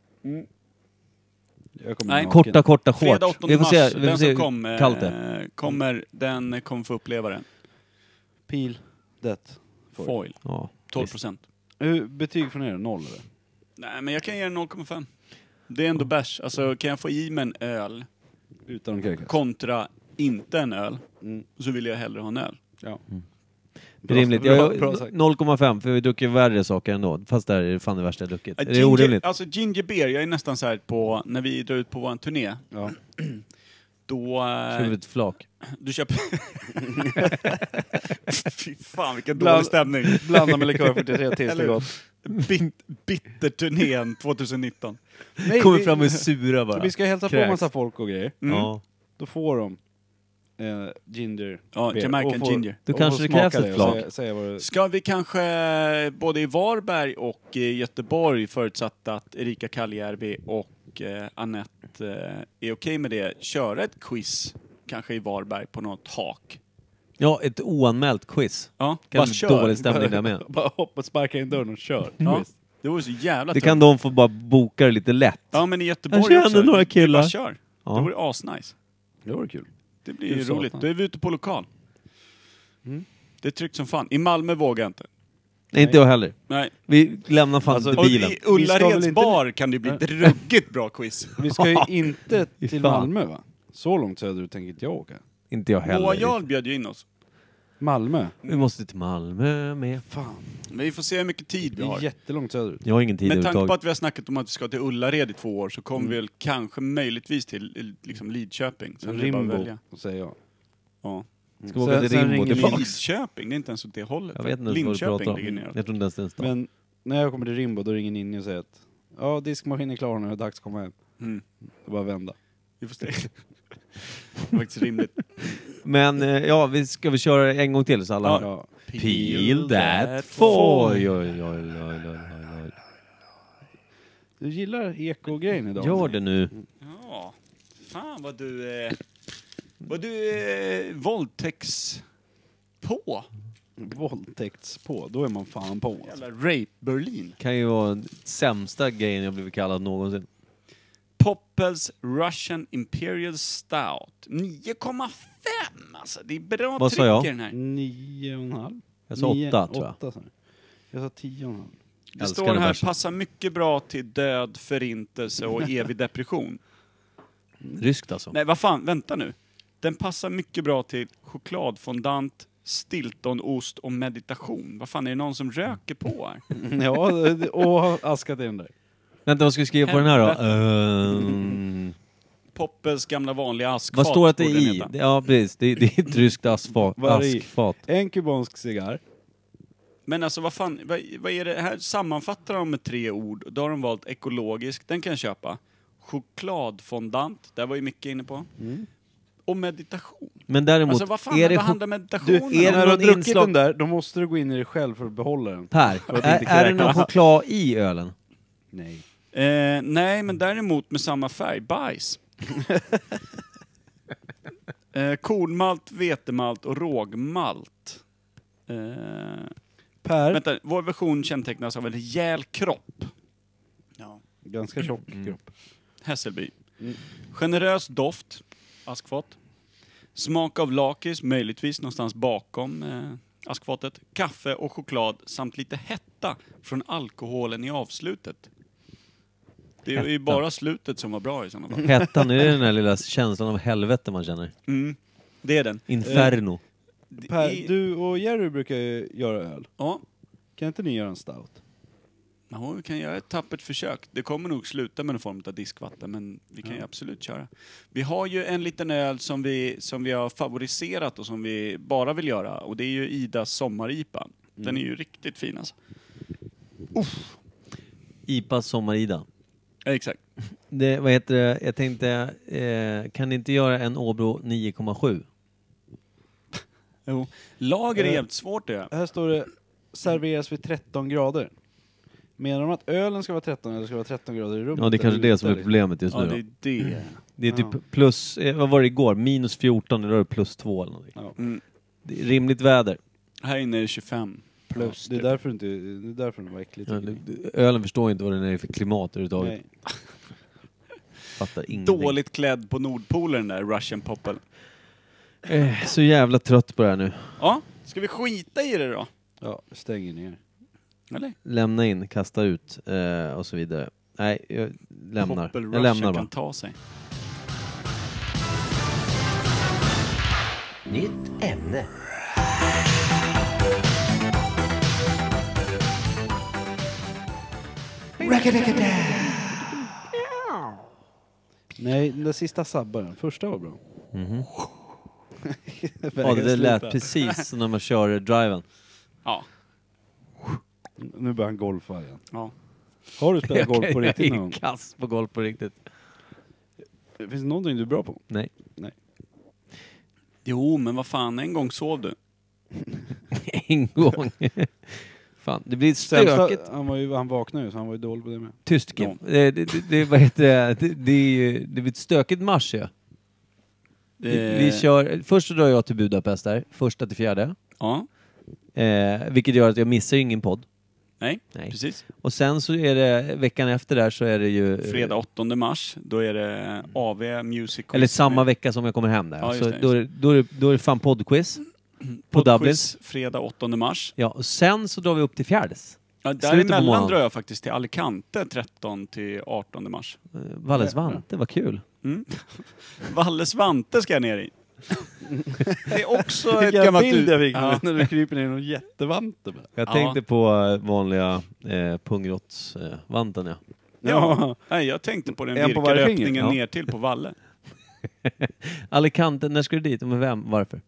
Speaker 2: Jag kommer
Speaker 1: Nej,
Speaker 2: naken.
Speaker 3: Korta, korta shorts.
Speaker 1: Fredag 8
Speaker 3: Vi får
Speaker 1: mars,
Speaker 3: se- vi får
Speaker 1: den
Speaker 3: se
Speaker 1: som
Speaker 3: hur
Speaker 1: kom, eh,
Speaker 3: kallt det är.
Speaker 1: kommer, den kommer få uppleva det.
Speaker 2: Pil. Det. Foil.
Speaker 1: Foil.
Speaker 3: Ja,
Speaker 1: 12
Speaker 3: visst.
Speaker 1: procent.
Speaker 2: Hur, betyg från er? Noll eller?
Speaker 1: Nej, men jag kan ge den 0,5. Det är ändå bärs. Alltså, kan jag få i mig en öl
Speaker 2: Utan kräkas.
Speaker 1: kontra inte en öl,
Speaker 2: Mm.
Speaker 1: så vill jag hellre ha en öl.
Speaker 2: Ja.
Speaker 3: Det är rimligt.
Speaker 2: Bra,
Speaker 3: Jag,
Speaker 2: bra, bra sagt.
Speaker 3: 0,5 för vi dricker värre saker ändå. Fast det här är fan det värsta jag druckit.
Speaker 1: Äh,
Speaker 3: det är orimligt.
Speaker 1: Alltså ginger beer, jag är nästan så här på, när vi drar ut på vår turné,
Speaker 2: Ja.
Speaker 1: då... eh,
Speaker 3: Skriv ett flak.
Speaker 1: du köper... Fy fan vilken dålig
Speaker 2: Bland-
Speaker 1: stämning.
Speaker 2: Blanda med likör 43 tills det
Speaker 1: Eller
Speaker 2: är
Speaker 1: hur?
Speaker 2: gott.
Speaker 1: Bit, bitterturnén 2019.
Speaker 2: Nej,
Speaker 3: Kommer
Speaker 2: vi-
Speaker 3: fram och är sura bara.
Speaker 2: Vi ska hälsa på
Speaker 3: Kräks.
Speaker 2: massa folk och grejer.
Speaker 1: Mm.
Speaker 3: Ja.
Speaker 2: Då får de eh, ginger.
Speaker 1: Ja,
Speaker 2: beer.
Speaker 1: Jamaican
Speaker 2: Och får-
Speaker 1: ginger.
Speaker 3: Då
Speaker 2: och
Speaker 3: kanske
Speaker 2: får
Speaker 3: det krävs
Speaker 2: smaka
Speaker 3: ett
Speaker 2: och
Speaker 3: flak.
Speaker 2: säga- säga vad det-
Speaker 1: Ska vi kanske både i Varberg och i Göteborg, förutsatt att Erika Kalljärvi och eh, Anette eh, är okej med det, köra ett quiz, kanske i Varberg, på något hak?
Speaker 3: ja, ett oanmält quiz.
Speaker 1: Ja,
Speaker 3: Kan
Speaker 1: bara
Speaker 3: bli
Speaker 1: kör.
Speaker 3: dålig stämning där med.
Speaker 2: Bara hoppa, sparka in dörren och kör.
Speaker 1: Ja, det vore så jävla
Speaker 3: Det
Speaker 1: kan...
Speaker 3: kan de få bara boka det lite lätt.
Speaker 1: Ja, men i Göteborg
Speaker 3: Jag känner
Speaker 1: också.
Speaker 3: några
Speaker 1: Det är
Speaker 3: killar.
Speaker 1: Bara kör.
Speaker 3: Ja.
Speaker 1: Det vore asnice.
Speaker 2: Det vore kul.
Speaker 1: Det blir ju
Speaker 2: Hur satan.
Speaker 1: roligt. Då är vi ute på lokal.
Speaker 3: Mm.
Speaker 1: Det är tryggt som fan. I Malmö vågar jag inte.
Speaker 3: Nej, inte jag heller.
Speaker 1: Nej.
Speaker 3: Vi lämnar fan
Speaker 2: Alltså,
Speaker 1: Och
Speaker 3: bilen.
Speaker 2: Vi
Speaker 1: i
Speaker 2: ska väl
Speaker 1: Ullareds
Speaker 2: inte-
Speaker 1: bar kan det bli druggigt bra quiz.
Speaker 2: Vi ska ju inte
Speaker 3: Fy
Speaker 2: till
Speaker 3: fan.
Speaker 2: Malmö va? Så långt söderut tänker inte jag åka.
Speaker 3: Inte jag heller.
Speaker 1: Moa Jarl bjöd ju in oss.
Speaker 2: Malmö?
Speaker 3: Vi måste till Malmö med.
Speaker 2: Fan,
Speaker 1: Men vi får se hur mycket tid
Speaker 2: det
Speaker 1: vi
Speaker 2: är
Speaker 1: har.
Speaker 2: jättelångt söderut.
Speaker 3: Jag har ingen tid
Speaker 1: Med tanke på
Speaker 3: överhuvudtaget. Mm.
Speaker 1: att vi har snackat om att vi ska till Ullared i två år så kommer vi väl kanske möjligtvis till eh, liksom Lidköping. Sen är det bara att
Speaker 2: Rimbo,
Speaker 1: välja.
Speaker 2: säger jag.
Speaker 1: Ja.
Speaker 3: Ska åka till Rimbo
Speaker 2: ringer
Speaker 3: tillbaka.
Speaker 2: Linus.
Speaker 1: Lidköping, det är inte ens åt det hållet.
Speaker 3: Jag vet inte ens vad du pratar
Speaker 1: Linköping ligger
Speaker 3: om.
Speaker 1: neråt.
Speaker 3: Jag tror inte ens det är en stad.
Speaker 2: Men när jag kommer till Rimbo då ringer Ninni och säger att ja, diskmaskinen är klar nu, det är dags att komma hem.
Speaker 1: Mm.
Speaker 2: Det är bara att vända.
Speaker 1: Vi får se. det är faktiskt rimligt.
Speaker 3: Men eh, ja, vi ska vi köra en gång till så alla
Speaker 1: Ja.
Speaker 3: hör?
Speaker 2: Ja.
Speaker 3: Peel that foil. Oj, oj, oj, oj, oj, oj, oj.
Speaker 2: Du gillar eko-grejen idag?
Speaker 3: Gör det nu.
Speaker 1: Ja. Fan vad du... Eh, vad du eh, våldtäkts... På?
Speaker 2: Våldtäkts på, då är man fan på. Alltså.
Speaker 1: Jävla rape Berlin.
Speaker 3: Kan ju vara den sämsta grejen jag blivit kallad någonsin.
Speaker 1: Poppels Russian Imperial Stout. 9,5 alltså. Det är bra
Speaker 3: Vad sa
Speaker 1: tryck i
Speaker 3: jag?
Speaker 1: den här.
Speaker 2: Nio och en halv?
Speaker 3: Jag sa
Speaker 2: Nio-
Speaker 3: åtta, tror jag.
Speaker 2: åtta, sa du. Jag sa tio och en halv.
Speaker 1: Det
Speaker 3: Älskar
Speaker 1: står
Speaker 3: den
Speaker 1: här,
Speaker 3: bärsen.
Speaker 1: passar mycket bra till död, förintelse och evig depression.
Speaker 3: Ryskt alltså.
Speaker 1: Nej, vad fan, vänta nu. Den passar mycket bra till chokladfondant, stiltonost och meditation. Vad fan, är det någon som röker på här?
Speaker 2: ja, det- och har askat in där.
Speaker 3: Vänta, vad ska vi skriva på den här då? Ehm,
Speaker 1: Poppels gamla vanliga askfat.
Speaker 3: vad står det att det
Speaker 1: borde den
Speaker 3: är i?
Speaker 1: heta.
Speaker 3: Ja, precis. Det, det är ett ryskt asfa-
Speaker 2: Vad är det i?
Speaker 3: askfat.
Speaker 2: En kubansk cigarr.
Speaker 1: Men alltså vad fan, vad, vad är det här? Sammanfattar de med tre ord. Då har de valt ekologisk, den kan jag köpa. Chokladfondant, där var ju mycket inne på. Och meditation.
Speaker 3: Men Mm. däremot,
Speaker 1: Alltså vad fan,
Speaker 3: är det
Speaker 1: vad
Speaker 3: chok-
Speaker 1: handlar
Speaker 2: Du,
Speaker 1: meditationen
Speaker 3: är
Speaker 1: om?
Speaker 2: när
Speaker 3: det
Speaker 2: du har
Speaker 3: någon
Speaker 2: druckit
Speaker 3: inslag-
Speaker 2: den där, då måste du gå in i dig själv för att behålla den.
Speaker 3: Per,
Speaker 2: att
Speaker 3: är,
Speaker 2: inte
Speaker 3: är det någon
Speaker 2: kräkas.
Speaker 3: choklad i ölen?
Speaker 2: Nej.
Speaker 1: Eh, nej, men däremot med samma färg, bajs. eh, kornmalt, vetemalt och rågmalt. Eh,
Speaker 2: Per,
Speaker 1: vänta, vår version kännetecknas av en rejäl kropp. Ja.
Speaker 2: ganska tjock kropp.
Speaker 3: Mm.
Speaker 1: Hässelby. Generös doft, askfat. Smak av lakrits, möjligtvis någonstans bakom eh, askfatet. Kaffe och choklad samt lite hetta från alkoholen i avslutet. Det är ju
Speaker 3: Hetta.
Speaker 1: bara slutet som var bra i sådana fall.
Speaker 3: Hettan, är det den där lilla känslan av helvete man känner?
Speaker 1: Mm, det är den.
Speaker 3: Inferno.
Speaker 1: Det
Speaker 2: Per,
Speaker 1: är-
Speaker 2: du och Jerry brukar ju göra öl.
Speaker 1: Ja.
Speaker 2: Kan inte ni göra en stout?
Speaker 1: Ja, vi kan göra ett tappert försök. Det kommer nog sluta med någon form av diskvatten, men vi kan ju absolut köra. Vi har ju en liten öl som vi, som vi har favoriserat och som vi bara vill göra och det är ju Idas sommar-IPA. Den är ju riktigt fin alltså.
Speaker 3: IPA Sommar-Ida.
Speaker 1: Ja, Exakt.
Speaker 3: Det, vad heter det? Jag tänkte, eh, kan ni inte göra en Åbro 9,7?
Speaker 1: Jo. Lager är
Speaker 2: Eh.
Speaker 1: jävligt svårt det.
Speaker 2: Här står det serveras vid 13 grader. Menar de att ölen ska vara 13 eller ska vara 13 grader i rummet?
Speaker 3: Ja, det är kanske
Speaker 2: eller
Speaker 3: det som är
Speaker 2: ute, eller?
Speaker 3: problemet just
Speaker 1: Ja,
Speaker 3: nu.
Speaker 1: det
Speaker 3: då.
Speaker 1: är det.
Speaker 3: Det är typ plus, eh, vad var det igår? Minus 14, idag är det plus 2 eller någonting.
Speaker 1: Mm.
Speaker 3: Det är rimligt väder.
Speaker 1: Här inne är det 25 plus.
Speaker 2: Det är därför, inte, det är därför den var äcklig.
Speaker 3: Ja,
Speaker 2: tycker
Speaker 3: det-
Speaker 2: ni.
Speaker 3: det- Ölen förstår inte vad den är för klimat överhuvudtaget.
Speaker 2: Nej.
Speaker 3: Fattar ingenting.
Speaker 1: Dåligt klädd på Nordpolen den där, Russian Poppel.
Speaker 3: Eh, så jävla trött på det här nu.
Speaker 1: Ja, ska vi skita i det då?
Speaker 2: Ja, stänger ner.
Speaker 1: Eller?
Speaker 3: Lämna in, kasta ut eh, och så vidare. Nej, jag lämnar.
Speaker 1: Poppel
Speaker 3: Jag
Speaker 1: Russian
Speaker 3: lämnar
Speaker 1: kan
Speaker 3: bara.
Speaker 1: ta sig.
Speaker 6: Nytt ämne.
Speaker 2: Nej, den där sista sabbade den. Första var bra.
Speaker 3: Ja, det där
Speaker 2: Sluta.
Speaker 3: lät precis som när man kör eh, driven.
Speaker 1: Ja.
Speaker 2: Nu börjar han golfa igen.
Speaker 1: ja.
Speaker 2: Har du spelat golf på riktigt någon gång?
Speaker 3: Jag är kass på golf på riktigt.
Speaker 2: Finns det någonting du är bra på?
Speaker 3: Nej.
Speaker 1: Jo, men vad fan, en gång sov du.
Speaker 3: En gång. Fan, det blir stökigt.
Speaker 2: han, var ju, han vaknade ju så han var ju dålig på det med.
Speaker 3: Tyst Kim. Det, det, det, vad heter det? Det, det, är ju- det blir ett stökigt mars ju. Vi, vi
Speaker 1: Eh,
Speaker 3: kör, först så drar jag till Budapest där, första till fjärde.
Speaker 1: Ja,
Speaker 3: Eh, vilket gör att jag missar ju ingen podd.
Speaker 1: nej,
Speaker 3: Nej.
Speaker 1: precis.
Speaker 3: Och sen så är det veckan efter där så är det ju... eh,
Speaker 1: Fredag 8 mars, då är det AV Music Quiz. eh,
Speaker 3: Eller samma Mm. vecka som jag kommer hem där.
Speaker 1: Ja, just
Speaker 3: så
Speaker 1: det,
Speaker 3: då, är, då, är, det- då är det fan poddquiz. på Dublin.
Speaker 1: Quiz fredag 8 mars.
Speaker 3: Ja, och sen så drar vi upp till Fjärdes.
Speaker 1: Ja,
Speaker 3: Slutet på
Speaker 1: däremellan
Speaker 3: månaden.
Speaker 1: drar jag faktiskt till Alicante 13 till 18 mars.
Speaker 3: Eh, Valles Vante, vad kul.
Speaker 1: Mm. Valle Svante ska jag ner i. Det är också ett
Speaker 2: Vilken
Speaker 1: gammalt...
Speaker 2: bild jag fick
Speaker 1: Ja.
Speaker 2: när du kryper ner i någon jättevante. bara.
Speaker 3: Jag
Speaker 1: Ja.
Speaker 3: tänkte på eh, vanliga eh, pungråttsvanten, eh, vanten, ja.
Speaker 1: Ja. Nej, jag tänkte på den
Speaker 2: En på varje finger,
Speaker 1: virkaröppningen
Speaker 3: ja.
Speaker 1: ner till på Valle.
Speaker 3: Alicante, när ska du dit och med vem? Varför?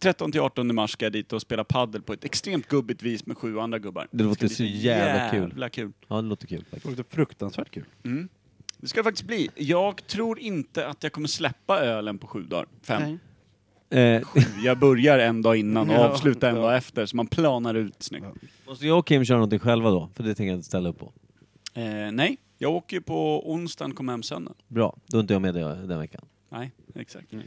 Speaker 1: 13 till 18 mars ska jag dit och spela paddel på ett extremt gubbigt vis med sju andra gubbar.
Speaker 3: Det låter
Speaker 1: ska bli
Speaker 3: så jävla
Speaker 1: jävla kul.
Speaker 3: Ja, det låter kul
Speaker 2: Det
Speaker 3: faktiskt.
Speaker 2: låter fruktansvärt kul.
Speaker 1: Mm. Det ska det faktiskt bli. Jag tror inte att jag kommer släppa ölen på sju dagar. Fem.
Speaker 3: Eh,
Speaker 1: Jag börjar en dag innan och
Speaker 2: Ja.
Speaker 1: avslutar en
Speaker 2: Ja.
Speaker 1: dag efter, så man planar ut snyggt.
Speaker 3: måste jag och Kim köra någonting själva då? För det tänker jag inte ställa upp på.
Speaker 1: Eh, nej, jag åker ju på onsdagen, kommer hem söndag.
Speaker 3: Bra, då är inte jag med det den veckan.
Speaker 1: Nej, exakt.
Speaker 3: Inte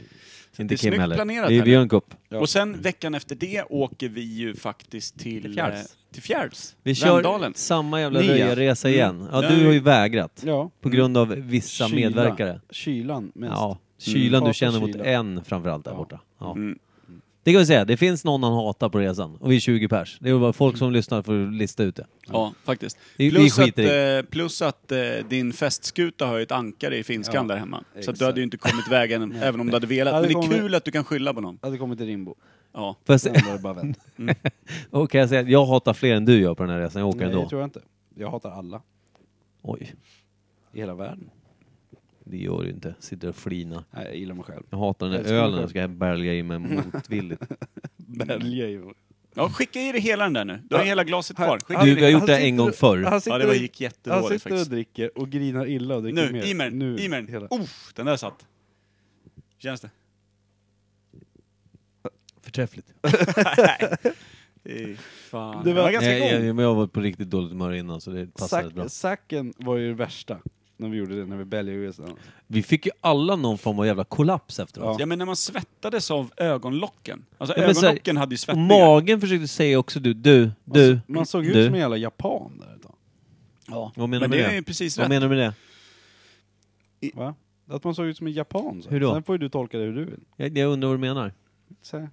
Speaker 1: det är
Speaker 3: Kim
Speaker 1: snyggt
Speaker 3: heller.
Speaker 1: planerat
Speaker 3: vi,
Speaker 1: här
Speaker 3: vi
Speaker 1: nu.
Speaker 3: gör en kupp.
Speaker 2: Ja.
Speaker 1: Och sen veckan efter det åker vi ju faktiskt till...
Speaker 3: Till Fjärds.
Speaker 1: eh, Till Fjärds.
Speaker 3: Vi kör
Speaker 1: Värmdalen.
Speaker 3: samma jävla
Speaker 2: Nia.
Speaker 3: röjarresa igen. Ja,
Speaker 1: Mm. Nej.
Speaker 3: du har ju vägrat.
Speaker 2: Ja.
Speaker 3: På grund av vissa
Speaker 2: Kyla.
Speaker 3: medverkare.
Speaker 2: Kylan mest.
Speaker 3: Ja, kylan du
Speaker 2: Hatar
Speaker 3: känner mot
Speaker 2: kylan.
Speaker 3: en framförallt där
Speaker 2: Ja.
Speaker 3: borta. Ja.
Speaker 1: Mm.
Speaker 3: Det kan vi säga, det finns någon han hatar på resan. Och vi är 20 pers. Det är bara
Speaker 1: Mm.
Speaker 3: folk som lyssnar för att lista ut det.
Speaker 1: Ja, faktiskt.
Speaker 3: Vi- vi
Speaker 1: Plus att,
Speaker 3: skiter i.
Speaker 1: eh, plus att eh, din festskuta har ju ett ankare i finskan där hemma. Så att
Speaker 2: exakt.
Speaker 1: du hade ju inte kommit vägen även om du hade velat.
Speaker 2: Ja,
Speaker 1: Men
Speaker 2: det
Speaker 1: det är
Speaker 2: kommer-
Speaker 1: kul att du kan skylla på någon.
Speaker 2: Hade kommit till Rimbo.
Speaker 1: Ja.
Speaker 3: Fast,
Speaker 2: Sen var det bara vänt.
Speaker 3: och kan jag säga att jag hatar fler än du gör på den här resan. Jag åker
Speaker 2: Nej,
Speaker 3: ändå.
Speaker 2: det tror jag inte. Jag hatar alla
Speaker 3: Oj,
Speaker 2: i hela världen.
Speaker 3: det gör du inte. Sitter och flina.
Speaker 2: Nej, jag gillar mig själv.
Speaker 3: Jag hatar den
Speaker 2: Jag
Speaker 3: där
Speaker 2: älskar mig
Speaker 3: ölen
Speaker 2: själv.
Speaker 3: jag ska bälga i mig motvilligt.
Speaker 2: Bälja i
Speaker 1: ja, skicka i dig hela den där nu. Du har
Speaker 2: Ja.
Speaker 1: hela glaset
Speaker 2: Här-
Speaker 1: kvar. Skicka
Speaker 2: här-
Speaker 1: i
Speaker 3: Du, vi
Speaker 1: dig.
Speaker 3: har
Speaker 2: Han
Speaker 3: gjort det en
Speaker 2: sitter-
Speaker 3: gång förr.
Speaker 2: Han
Speaker 1: Ja,
Speaker 2: sitter,
Speaker 1: det var- gick
Speaker 2: han
Speaker 1: jättedåligt
Speaker 2: sitter och
Speaker 1: faktiskt.
Speaker 2: dricker och grinar illa och dricker
Speaker 1: Nu,
Speaker 2: mer.
Speaker 1: i med den.
Speaker 2: Nu,
Speaker 1: I med den.
Speaker 2: hela.
Speaker 1: Uff, den där satt. Känns det?
Speaker 3: Förträffligt.
Speaker 1: Fy Fan.
Speaker 2: Det
Speaker 1: Det
Speaker 2: var-
Speaker 1: var,
Speaker 3: Jag,
Speaker 1: ganska
Speaker 3: jag,
Speaker 1: god.
Speaker 3: men jag har varit på riktigt dåligt humör innan så det passade
Speaker 2: Sack,
Speaker 3: bra.
Speaker 2: sacken var ju det värsta när vi gjorde det, när vi bälgade ur oss den.
Speaker 3: Vi fick ju alla någon form av jävla kollaps efteråt.
Speaker 1: Ja men när man svettades av ögonlocken. Alltså
Speaker 3: Ja, men så här-
Speaker 1: ögonlocken hade ju
Speaker 3: Och
Speaker 1: svettningar.
Speaker 3: magen försökte säga också du, du,
Speaker 2: Man,
Speaker 3: du.
Speaker 2: man såg ut
Speaker 3: du.
Speaker 2: som en jävla japan där ett tag.
Speaker 1: Ja.
Speaker 3: Vad menar
Speaker 1: Men
Speaker 3: du
Speaker 1: det
Speaker 3: med
Speaker 1: är ju
Speaker 3: det?
Speaker 1: precis
Speaker 3: Vad
Speaker 1: rätt.
Speaker 3: menar du med det?
Speaker 2: Va? Att man såg ut som en japan. Så.
Speaker 3: Hur då?
Speaker 2: Sen får ju du tolka det hur du vill.
Speaker 3: Jag, jag undrar vad du menar.
Speaker 2: Så här.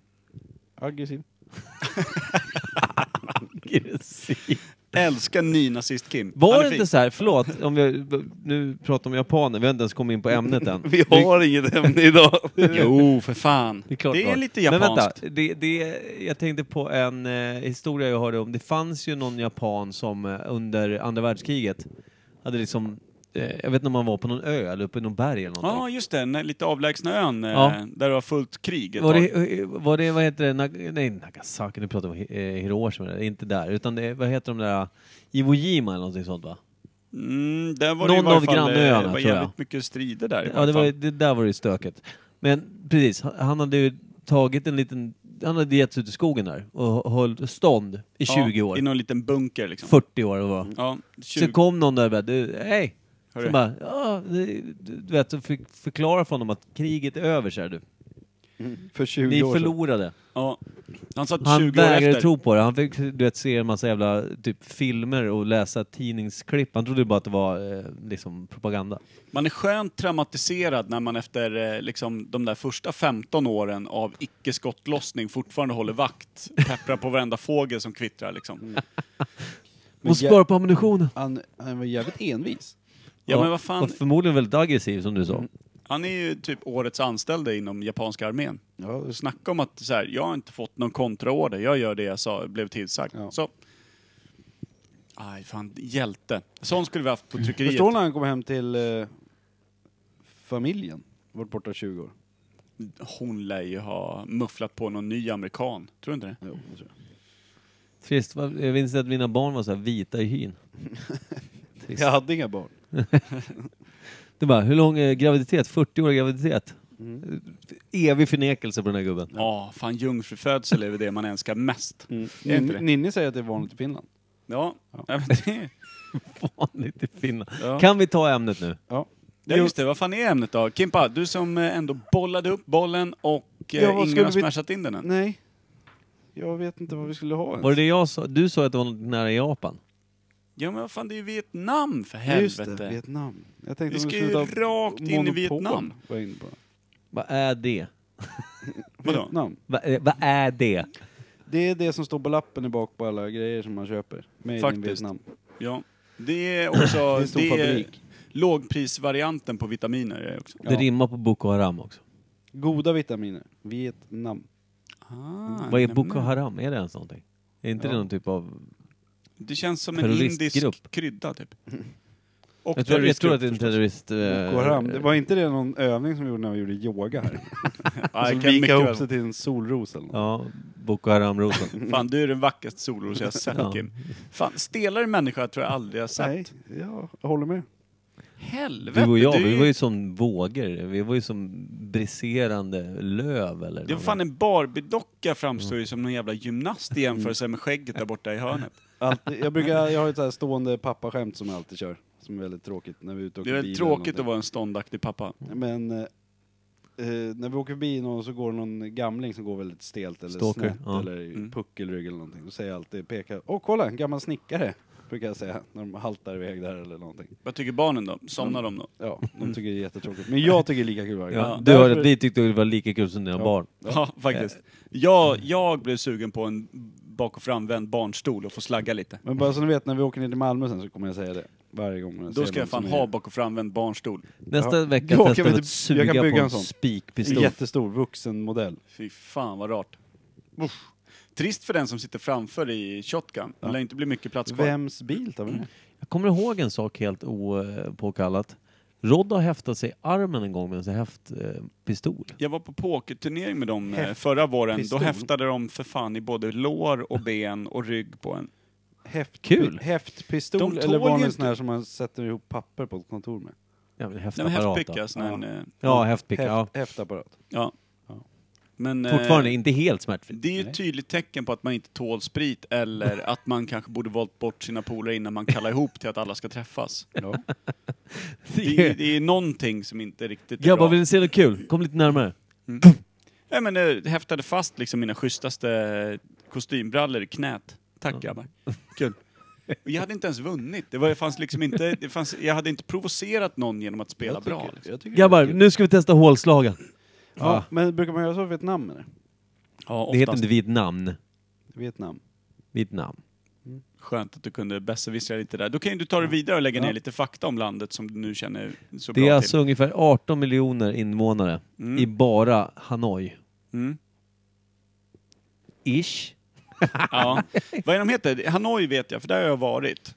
Speaker 2: Aggressiv.
Speaker 1: Älskar nynazist-Kim. Han
Speaker 3: Var
Speaker 1: är
Speaker 3: det
Speaker 1: fin.
Speaker 3: inte så här, förlåt, om vi nu pratar om japaner, vi har inte ens kommit in på ämnet än.
Speaker 2: Vi har inget ämne idag.
Speaker 1: Jo, för fan.
Speaker 3: Det är, klart
Speaker 1: det
Speaker 3: var.
Speaker 1: är lite
Speaker 3: Men
Speaker 1: japanskt.
Speaker 3: vänta, det, det, jag tänkte på en eh, historia jag hörde om. Det fanns ju någon japan som eh, under andra världskriget hade liksom, eh, jag vet inte om man var på någon ö eller uppe i någon berg eller
Speaker 1: Ja,
Speaker 3: någonting.
Speaker 1: just det. Den där lite avlägsna ön eh,
Speaker 3: Ja.
Speaker 1: där det var fullt krig ett
Speaker 3: Var
Speaker 1: tag.
Speaker 3: det, eh, var det, vad heter det, Nag- nej Nagasaki, nu pratar vi om Hi- eh, Hiroshima, inte där, utan det, vad heter de där, Iwo Jima eller någonting sånt va?
Speaker 1: Mm, där var det i
Speaker 3: Någon
Speaker 1: varje
Speaker 3: av
Speaker 1: fall, eh,
Speaker 3: grannöarna,
Speaker 1: Det var
Speaker 3: tror jag.
Speaker 1: jävligt mycket strider där i
Speaker 3: Ja,
Speaker 1: varje
Speaker 3: det, var,
Speaker 1: fall.
Speaker 3: det där var det ju stökigt. Men precis, han- han hade ju tagit en liten, han hade getts ut i skogen där och höll stånd i 20
Speaker 1: ja,
Speaker 3: år,
Speaker 1: I någon liten bunker liksom.
Speaker 3: 40 år och var.
Speaker 1: Ja, 20.
Speaker 3: Så kom någon där och bara, du, hej!
Speaker 1: Hörru.
Speaker 3: Så bara, ja, du, du vet, så fick förklara för honom att kriget är över, säger du.
Speaker 1: Mm.
Speaker 2: För 20
Speaker 3: Ni
Speaker 2: år sedan.
Speaker 3: förlorade.
Speaker 1: Ja. Han satt 20
Speaker 3: Han
Speaker 1: år efter.
Speaker 3: vägrade tro på det. Han fick du vet, se en massa jävla typ, filmer och läsa tidningsklipp. Han trodde bara att det var eh, liksom, propaganda.
Speaker 1: Man är skönt traumatiserad när man efter eh, liksom, de där första 15 åren av icke-skottlossning fortfarande håller vakt. Pepprar på varenda fågel som kvittrar liksom.
Speaker 3: Mm.
Speaker 2: Men
Speaker 3: Måste
Speaker 2: jä-
Speaker 3: spara på ammunitionen.
Speaker 2: Han, han var jävligt envis.
Speaker 1: Ja, men vad fan. Mm.
Speaker 3: Och förmodligen väldigt aggressiv som du sa.
Speaker 1: Han är ju typ årets anställde inom japanska armén.
Speaker 2: Ja,
Speaker 1: Och Snacka om att så här, jag har inte fått någon kontraorder, jag gör det jag sa, blev tillsagd.
Speaker 2: Ja.
Speaker 1: Så. Aj, fan, hjälte. Sån skulle vi haft på tryckeriet.
Speaker 2: Förstår ni när han kom hem till eh, familjen? Varit borta 20 år.
Speaker 1: Hon lär ju ha mufflat på någon ny amerikan, tror du inte det?
Speaker 2: Jo, det tror jag.
Speaker 3: Trist. Va- Jag minns att mina barn var så här vita i hyn. Trist.
Speaker 2: jag hade inga barn.
Speaker 3: Det bara, hur lång är graviditet? 40 år graviditet?
Speaker 1: Mm.
Speaker 3: Evig förnekelse på den här gubben.
Speaker 1: Ja, fan jungfrufödsel är väl det man älskar mest. Är det inte
Speaker 2: Ninni-
Speaker 1: det?
Speaker 2: Ninni säger att det är vanligt i Finland.
Speaker 1: Ja,
Speaker 2: Mm. Ja.
Speaker 1: ja. men det,
Speaker 3: Vanligt i Finland.
Speaker 1: Ja.
Speaker 3: Kan vi ta ämnet nu?
Speaker 2: Ja.
Speaker 1: ja, just det. Vad fan är ämnet då? Kimpa, du som eh, ändå bollade upp bollen och eh,
Speaker 2: Ja, vad
Speaker 1: ingen
Speaker 2: skulle
Speaker 1: har
Speaker 2: vi-
Speaker 1: smashat in den än.
Speaker 2: Nej. Jag vet inte vad vi skulle ha ens.
Speaker 3: Var det det jag sa? Du sa att det var något nära Japan.
Speaker 1: Ja, men vad fan, det är ju Vietnam för
Speaker 2: Just det,
Speaker 1: helvete.
Speaker 2: Vietnam. Jag tänkte
Speaker 1: Vi
Speaker 2: om
Speaker 1: ska
Speaker 2: skulle
Speaker 1: ju
Speaker 2: ta
Speaker 1: rakt in i
Speaker 2: Monopol,
Speaker 1: Vietnam.
Speaker 2: Var jag inne på.
Speaker 3: Vad är det?
Speaker 1: Vadå?
Speaker 2: nytt namn.
Speaker 3: Va- eh, Vad är det?
Speaker 2: Det är det som står på lappen i bak på alla grejer som man köper. Made in
Speaker 1: Faktiskt.
Speaker 2: Vietnam.
Speaker 1: Ja. Det är också...
Speaker 2: Det är en stor
Speaker 1: det är
Speaker 2: fabrik.
Speaker 1: Lågprisvarianten på vitaminer är det också.
Speaker 3: Det rimmar på Boko Haram också.
Speaker 2: Goda vitaminer. Vietnam.
Speaker 1: Ah,
Speaker 3: Vad är
Speaker 1: nej,
Speaker 3: Boko
Speaker 1: men-
Speaker 3: Haram? Är det ens någonting? Är inte det någon typ av...
Speaker 1: Det känns som en
Speaker 3: Terroristgrupp.
Speaker 1: indisk krydda typ. Och
Speaker 3: Jag tror, jag tror att det är en
Speaker 1: terroristgrupp,
Speaker 3: terrorist... eh,
Speaker 2: Boko Haram. Det var inte det någon övning som vi gjorde när vi gjorde yoga här?
Speaker 1: förstås. Ja,
Speaker 2: Alltså
Speaker 1: jag kan
Speaker 2: vika
Speaker 1: mycket
Speaker 2: ihop
Speaker 1: väl.
Speaker 2: sig till en solros eller något.
Speaker 3: Ja, Boko Haram-roten.
Speaker 1: Fan, du är den vackraste solros jag har sett
Speaker 3: Ja.
Speaker 1: Kim. Fan, stelare människa tror jag aldrig jag har sett.
Speaker 2: Nej, ja, jag håller med.
Speaker 1: Helvete!
Speaker 3: Du och jag,
Speaker 1: du är
Speaker 3: vi
Speaker 1: ju-
Speaker 3: var ju som vågor. Vi var ju som briserande löv eller
Speaker 1: Det var
Speaker 3: något.
Speaker 1: fan en Barbie-docka framstår ju
Speaker 3: Mm.
Speaker 1: som någon jävla gymnast i jämförelse med skägget där borta i hörnet.
Speaker 2: Alltid, jag, brukar, jag har ett så här stående pappaskämt som jag alltid kör. Som är väldigt tråkigt när vi är ute och
Speaker 1: Det
Speaker 2: åker
Speaker 1: är
Speaker 2: bil
Speaker 1: väl
Speaker 2: eller
Speaker 1: tråkigt
Speaker 2: någonting.
Speaker 1: att vara en ståndaktig pappa.
Speaker 2: Men eh, eh, när vi åker förbi någon så går det någon gamling som går väldigt stelt eller
Speaker 3: Stalker,
Speaker 2: snett
Speaker 3: ja.
Speaker 2: eller i
Speaker 1: Mm.
Speaker 2: puckelrygg eller någonting. Då säger jag alltid, pekar, åh kolla en gammal snickare! Brukar jag säga när de haltar iväg där eller någonting.
Speaker 1: Vad tycker barnen då? Somnar de då?
Speaker 2: Ja, de tycker det är jättetråkigt. Men jag tycker det är lika kul varje gång.
Speaker 3: Ja, du
Speaker 2: Därför-
Speaker 3: hörde att vi tyckte det var lika kul som dina
Speaker 2: Ja.
Speaker 3: barn.
Speaker 1: Ja, faktiskt. Jag, jag blev sugen på en bak och framvänd barnstol och få slagga lite.
Speaker 2: Men bara så ni vet, när vi åker ner till Malmö sen så kommer jag säga det. Varje gång
Speaker 1: Då ska jag fan ha bak och framvänd barnstol.
Speaker 3: Nästa
Speaker 2: Ja.
Speaker 3: vecka
Speaker 2: Jag kan
Speaker 3: testar
Speaker 2: väl
Speaker 3: vi
Speaker 2: inte-
Speaker 3: att
Speaker 2: jag kan bygga
Speaker 3: suga på en
Speaker 2: en sån.
Speaker 3: spikpistol.
Speaker 2: en jättestor vuxenmodell.
Speaker 1: Fy fan vad rart. Usch. Trist för den som sitter framför i shotgun. Det lär inte bli mycket plats kvar.
Speaker 2: Vems bil tar vi med?
Speaker 3: Jag kommer ihåg en sak helt opåkallat. Rodd har häftat sig i armen en gång med en sån häftpistol. Eh, pistol.
Speaker 1: Jag var på pokerturnering med dem eh,
Speaker 2: Häft-
Speaker 1: förra våren.
Speaker 2: pistol.
Speaker 1: Då häftade de för fan i både lår och ben och rygg på en.
Speaker 2: Häft,
Speaker 3: Kul.
Speaker 2: Häftpistol
Speaker 1: De
Speaker 2: eller
Speaker 1: tål
Speaker 2: var
Speaker 1: ju
Speaker 2: det en
Speaker 1: inte-
Speaker 2: sån här som man sätter ihop papper på ett kontor med?
Speaker 3: ja, men
Speaker 1: Nej, men
Speaker 3: häftapparat.
Speaker 1: häftpicka.
Speaker 3: då.
Speaker 1: sån här, eh,
Speaker 3: Ja, häftpicka. Ja.
Speaker 2: Häft, häftapparat.
Speaker 1: Ja.
Speaker 2: Ja.
Speaker 1: Men, eh,
Speaker 3: Fortfarande inte helt smärtfritt.
Speaker 1: Det är ju ett tydligt tecken på att man inte tål sprit eller att man kanske borde valt bort sina polare innan man kallar ihop till att alla ska träffas.
Speaker 2: Ja.
Speaker 1: Det, är- det är någonting som inte riktigt är
Speaker 3: Grabbar,
Speaker 1: bra.
Speaker 3: vill ni se något kul? Kom lite närmare.
Speaker 1: Nej, men det häftade fast liksom mina schysstaste kostymbrallor i knät. Tack grabbar. Kul. Och jag hade inte ens vunnit. Det var, det fanns liksom inte, det fanns, jag hade inte provocerat någon genom att spela
Speaker 2: Jag tycker-
Speaker 1: bra. Liksom.
Speaker 2: jag tycker det är
Speaker 3: Grabbar,
Speaker 2: kul.
Speaker 3: nu ska vi testa hålslagen.
Speaker 2: Ja,
Speaker 3: ah.
Speaker 2: men brukar man göra så i Vietnam eller?
Speaker 1: Ja,
Speaker 3: Det heter
Speaker 1: oftast.
Speaker 3: inte Vietnam.
Speaker 2: Vietnam.
Speaker 3: Vietnam.
Speaker 1: Skönt att du kunde besserwissra lite där. Då kan ju du ta dig vidare och lägga ner lite fakta om landet som du nu känner så
Speaker 3: Det
Speaker 1: bra
Speaker 3: är
Speaker 1: till.
Speaker 3: alltså ungefär 18 miljoner invånare i bara Hanoi.
Speaker 1: Mm.
Speaker 3: Ish.
Speaker 1: Ja. Vad är de heter? Hanoi vet jag, för där har jag varit.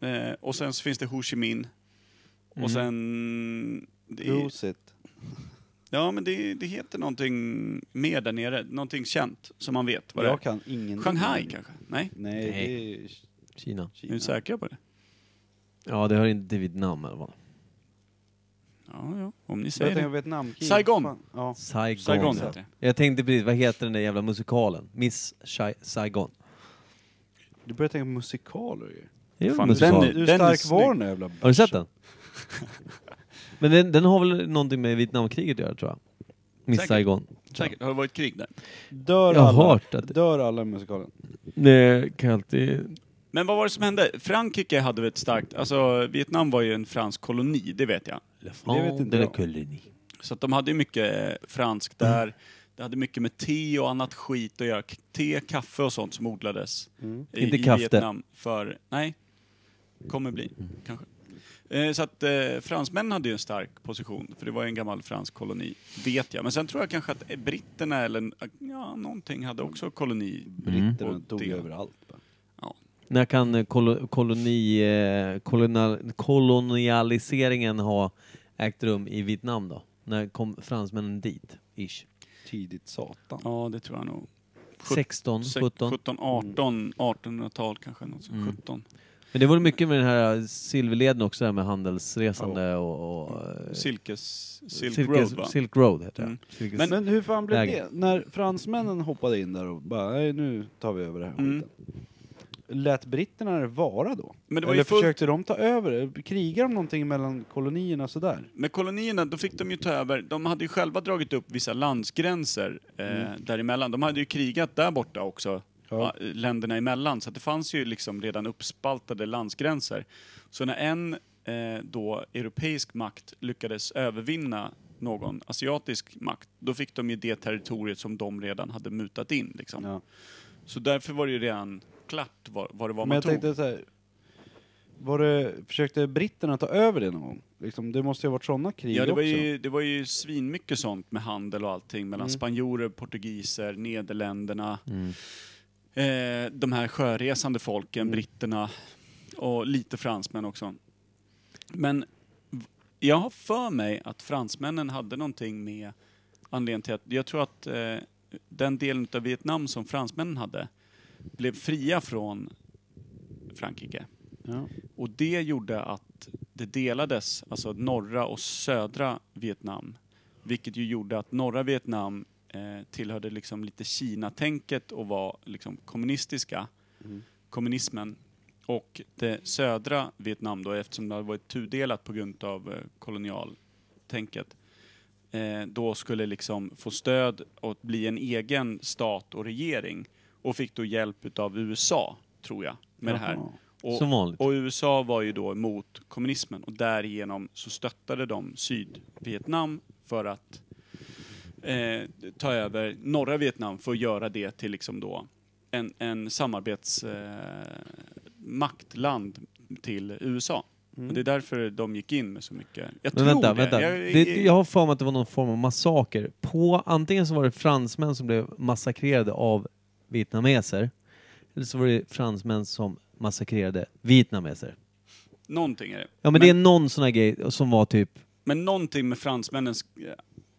Speaker 1: Eh, och sen så finns det Ho Chi Minh.
Speaker 3: Mm.
Speaker 1: Och sen... Det är,
Speaker 2: Prosit.
Speaker 1: ja, men det, det heter någonting mer där nere. Någonting känt som man vet vad det är.
Speaker 2: Jag kan ingen...
Speaker 1: Shanghai kanske? Nej?
Speaker 2: Nej,
Speaker 3: Nej.
Speaker 2: det är
Speaker 3: Kina.
Speaker 1: Är du
Speaker 2: Kina.
Speaker 1: säker på det?
Speaker 3: Ja, det hör inte till Vietnam i alla fall.
Speaker 1: Ja, ja. Om ni säger
Speaker 2: Jag tänker
Speaker 1: det.
Speaker 2: Vietnam.
Speaker 1: Saigon.
Speaker 2: Fan, Ja.
Speaker 3: Saigon.
Speaker 1: Saigon
Speaker 3: ja.
Speaker 1: heter
Speaker 3: Jag tänkte precis, vad heter den där jävla musikalen? Miss Shai- Saigon.
Speaker 2: Du börjar tänka på musikaler ju.
Speaker 3: Det är ju en
Speaker 1: Fan,
Speaker 3: musikal.
Speaker 1: den är-
Speaker 2: Du är stark
Speaker 1: snygg.
Speaker 2: var nu jävla
Speaker 3: Har du sett den? Men den, den har väl någonting med Vietnamkriget att göra tror jag. Miss
Speaker 1: Säkert.
Speaker 3: Saigon.
Speaker 1: Säkert. Har det varit krig där?
Speaker 2: Dör
Speaker 3: Jag har
Speaker 2: alla,
Speaker 3: hört att-
Speaker 2: dör alla i musikalen?
Speaker 3: Det kan jag alltid...
Speaker 1: Men vad var det som hände? Frankrike hade väl ett starkt... Alltså, Vietnam var ju en fransk koloni, det vet jag.
Speaker 2: Det vet inte jag.
Speaker 1: Så att de hade ju mycket eh, franskt
Speaker 3: Mm.
Speaker 1: där. Det hade mycket med te och annat skit att göra. K- Te, kaffe och sånt som odlades i,
Speaker 3: Mm. Inte
Speaker 1: i
Speaker 3: kaffe. Mm.
Speaker 1: Vietnam. För, nej, kommer bli kanske. Eh, så att eh, fransmännen hade ju en stark position, för det var ju en gammal fransk koloni, vet jag. Men sen tror jag kanske att eh, britterna eller eh, ja, någonting hade också koloni.
Speaker 3: Mm.
Speaker 2: Britterna
Speaker 1: Och
Speaker 2: dog
Speaker 1: det-
Speaker 2: överallt. bara.
Speaker 3: När kan eh, kolo, koloni, eh, kolonial, kolonialiseringen ha ägt rum i Vietnam då? När kom fransmännen dit? Ish.
Speaker 2: Tidigt satan.
Speaker 1: Ja, det tror jag nog. Sjut-
Speaker 3: 16, 17.
Speaker 1: 17,
Speaker 3: Mm.
Speaker 1: 18, 1800-tal kanske. Något sånt. 17.
Speaker 3: Men det var mycket med den här äh, silverleden också, där med handelsresande och... och eh,
Speaker 1: Silkes, Mm. Silk
Speaker 3: Silkes-
Speaker 1: Road va?
Speaker 3: Silk Road heter
Speaker 1: Mm.
Speaker 3: det. Silkes-
Speaker 2: Men, hur fan blev
Speaker 3: läge.
Speaker 2: det? När fransmännen hoppade in där och bara, nej nu tar vi över det här
Speaker 1: Mm.
Speaker 2: skiten. Lät britterna det vara då?
Speaker 1: Men det var ju
Speaker 2: Eller
Speaker 1: fullt-
Speaker 2: försökte de ta över det? Krigade de någonting mellan kolonierna sådär?
Speaker 1: Med kolonierna, då fick de ju ta över, de hade ju själva dragit upp vissa landsgränser eh,
Speaker 2: Mm.
Speaker 1: däremellan. De hade ju krigat där borta också, ja. länderna emellan. Så att det fanns ju liksom redan uppspaltade landsgränser. Så när en eh, då europeisk makt lyckades övervinna någon asiatisk makt, då fick de ju det territoriet som de redan hade mutat in. Liksom.
Speaker 2: Ja.
Speaker 1: Så därför var det ju redan klart vad, vad det var
Speaker 2: Men
Speaker 1: man
Speaker 2: jag
Speaker 1: tog.
Speaker 2: tänkte så här, var det, försökte britterna ta över det någon gång? Liksom, det måste ju ha varit sådana krig
Speaker 1: Ja, det var,
Speaker 2: också. Mm.
Speaker 1: ju, det var ju svinmycket sånt med handel och allting mellan spanjorer, portugiser, Nederländerna,
Speaker 3: Mm.
Speaker 1: eh, de här sjöresande folken,
Speaker 2: Mm.
Speaker 1: britterna och lite fransmän också. Men v- jag har för mig att fransmännen hade någonting med anledningen till att, jag tror att eh, den delen av Vietnam som fransmännen hade blev fria från Frankrike.
Speaker 2: Ja.
Speaker 1: Och det gjorde att det delades, alltså norra och södra Vietnam. Vilket ju gjorde att norra Vietnam eh, tillhörde liksom lite Kina-tänket och var liksom kommunistiska, kommunismen. Och det södra Vietnam då, eftersom det hade varit tudelat på grund av eh, kolonialtänket, eh, då skulle liksom få stöd och bli en egen stat och regering. Och fick då hjälp utav USA, tror jag, med det här.
Speaker 2: Jaha.
Speaker 1: Och,
Speaker 3: Som vanligt.
Speaker 1: och USA var ju då emot kommunismen och därigenom så stöttade de Sydvietnam för att eh, ta över norra Vietnam för att göra det till liksom då en, en samarbetsmaktland eh, maktland till USA.
Speaker 2: Mm.
Speaker 1: Och det är därför de gick in med så mycket. Jag
Speaker 3: Mm. Men
Speaker 1: tror
Speaker 3: vänta,
Speaker 1: det.
Speaker 3: vänta.
Speaker 1: Jag,
Speaker 3: Det, jag har för mig att det var någon form av massaker. På, antingen så var det fransmän som blev massakrerade av vietnameser. Eller så var det fransmän som massakrerade vietnameser.
Speaker 1: Någonting är det.
Speaker 3: Ja men, det är någon sån här grej som var typ...
Speaker 1: Men någonting med fransmännen sk-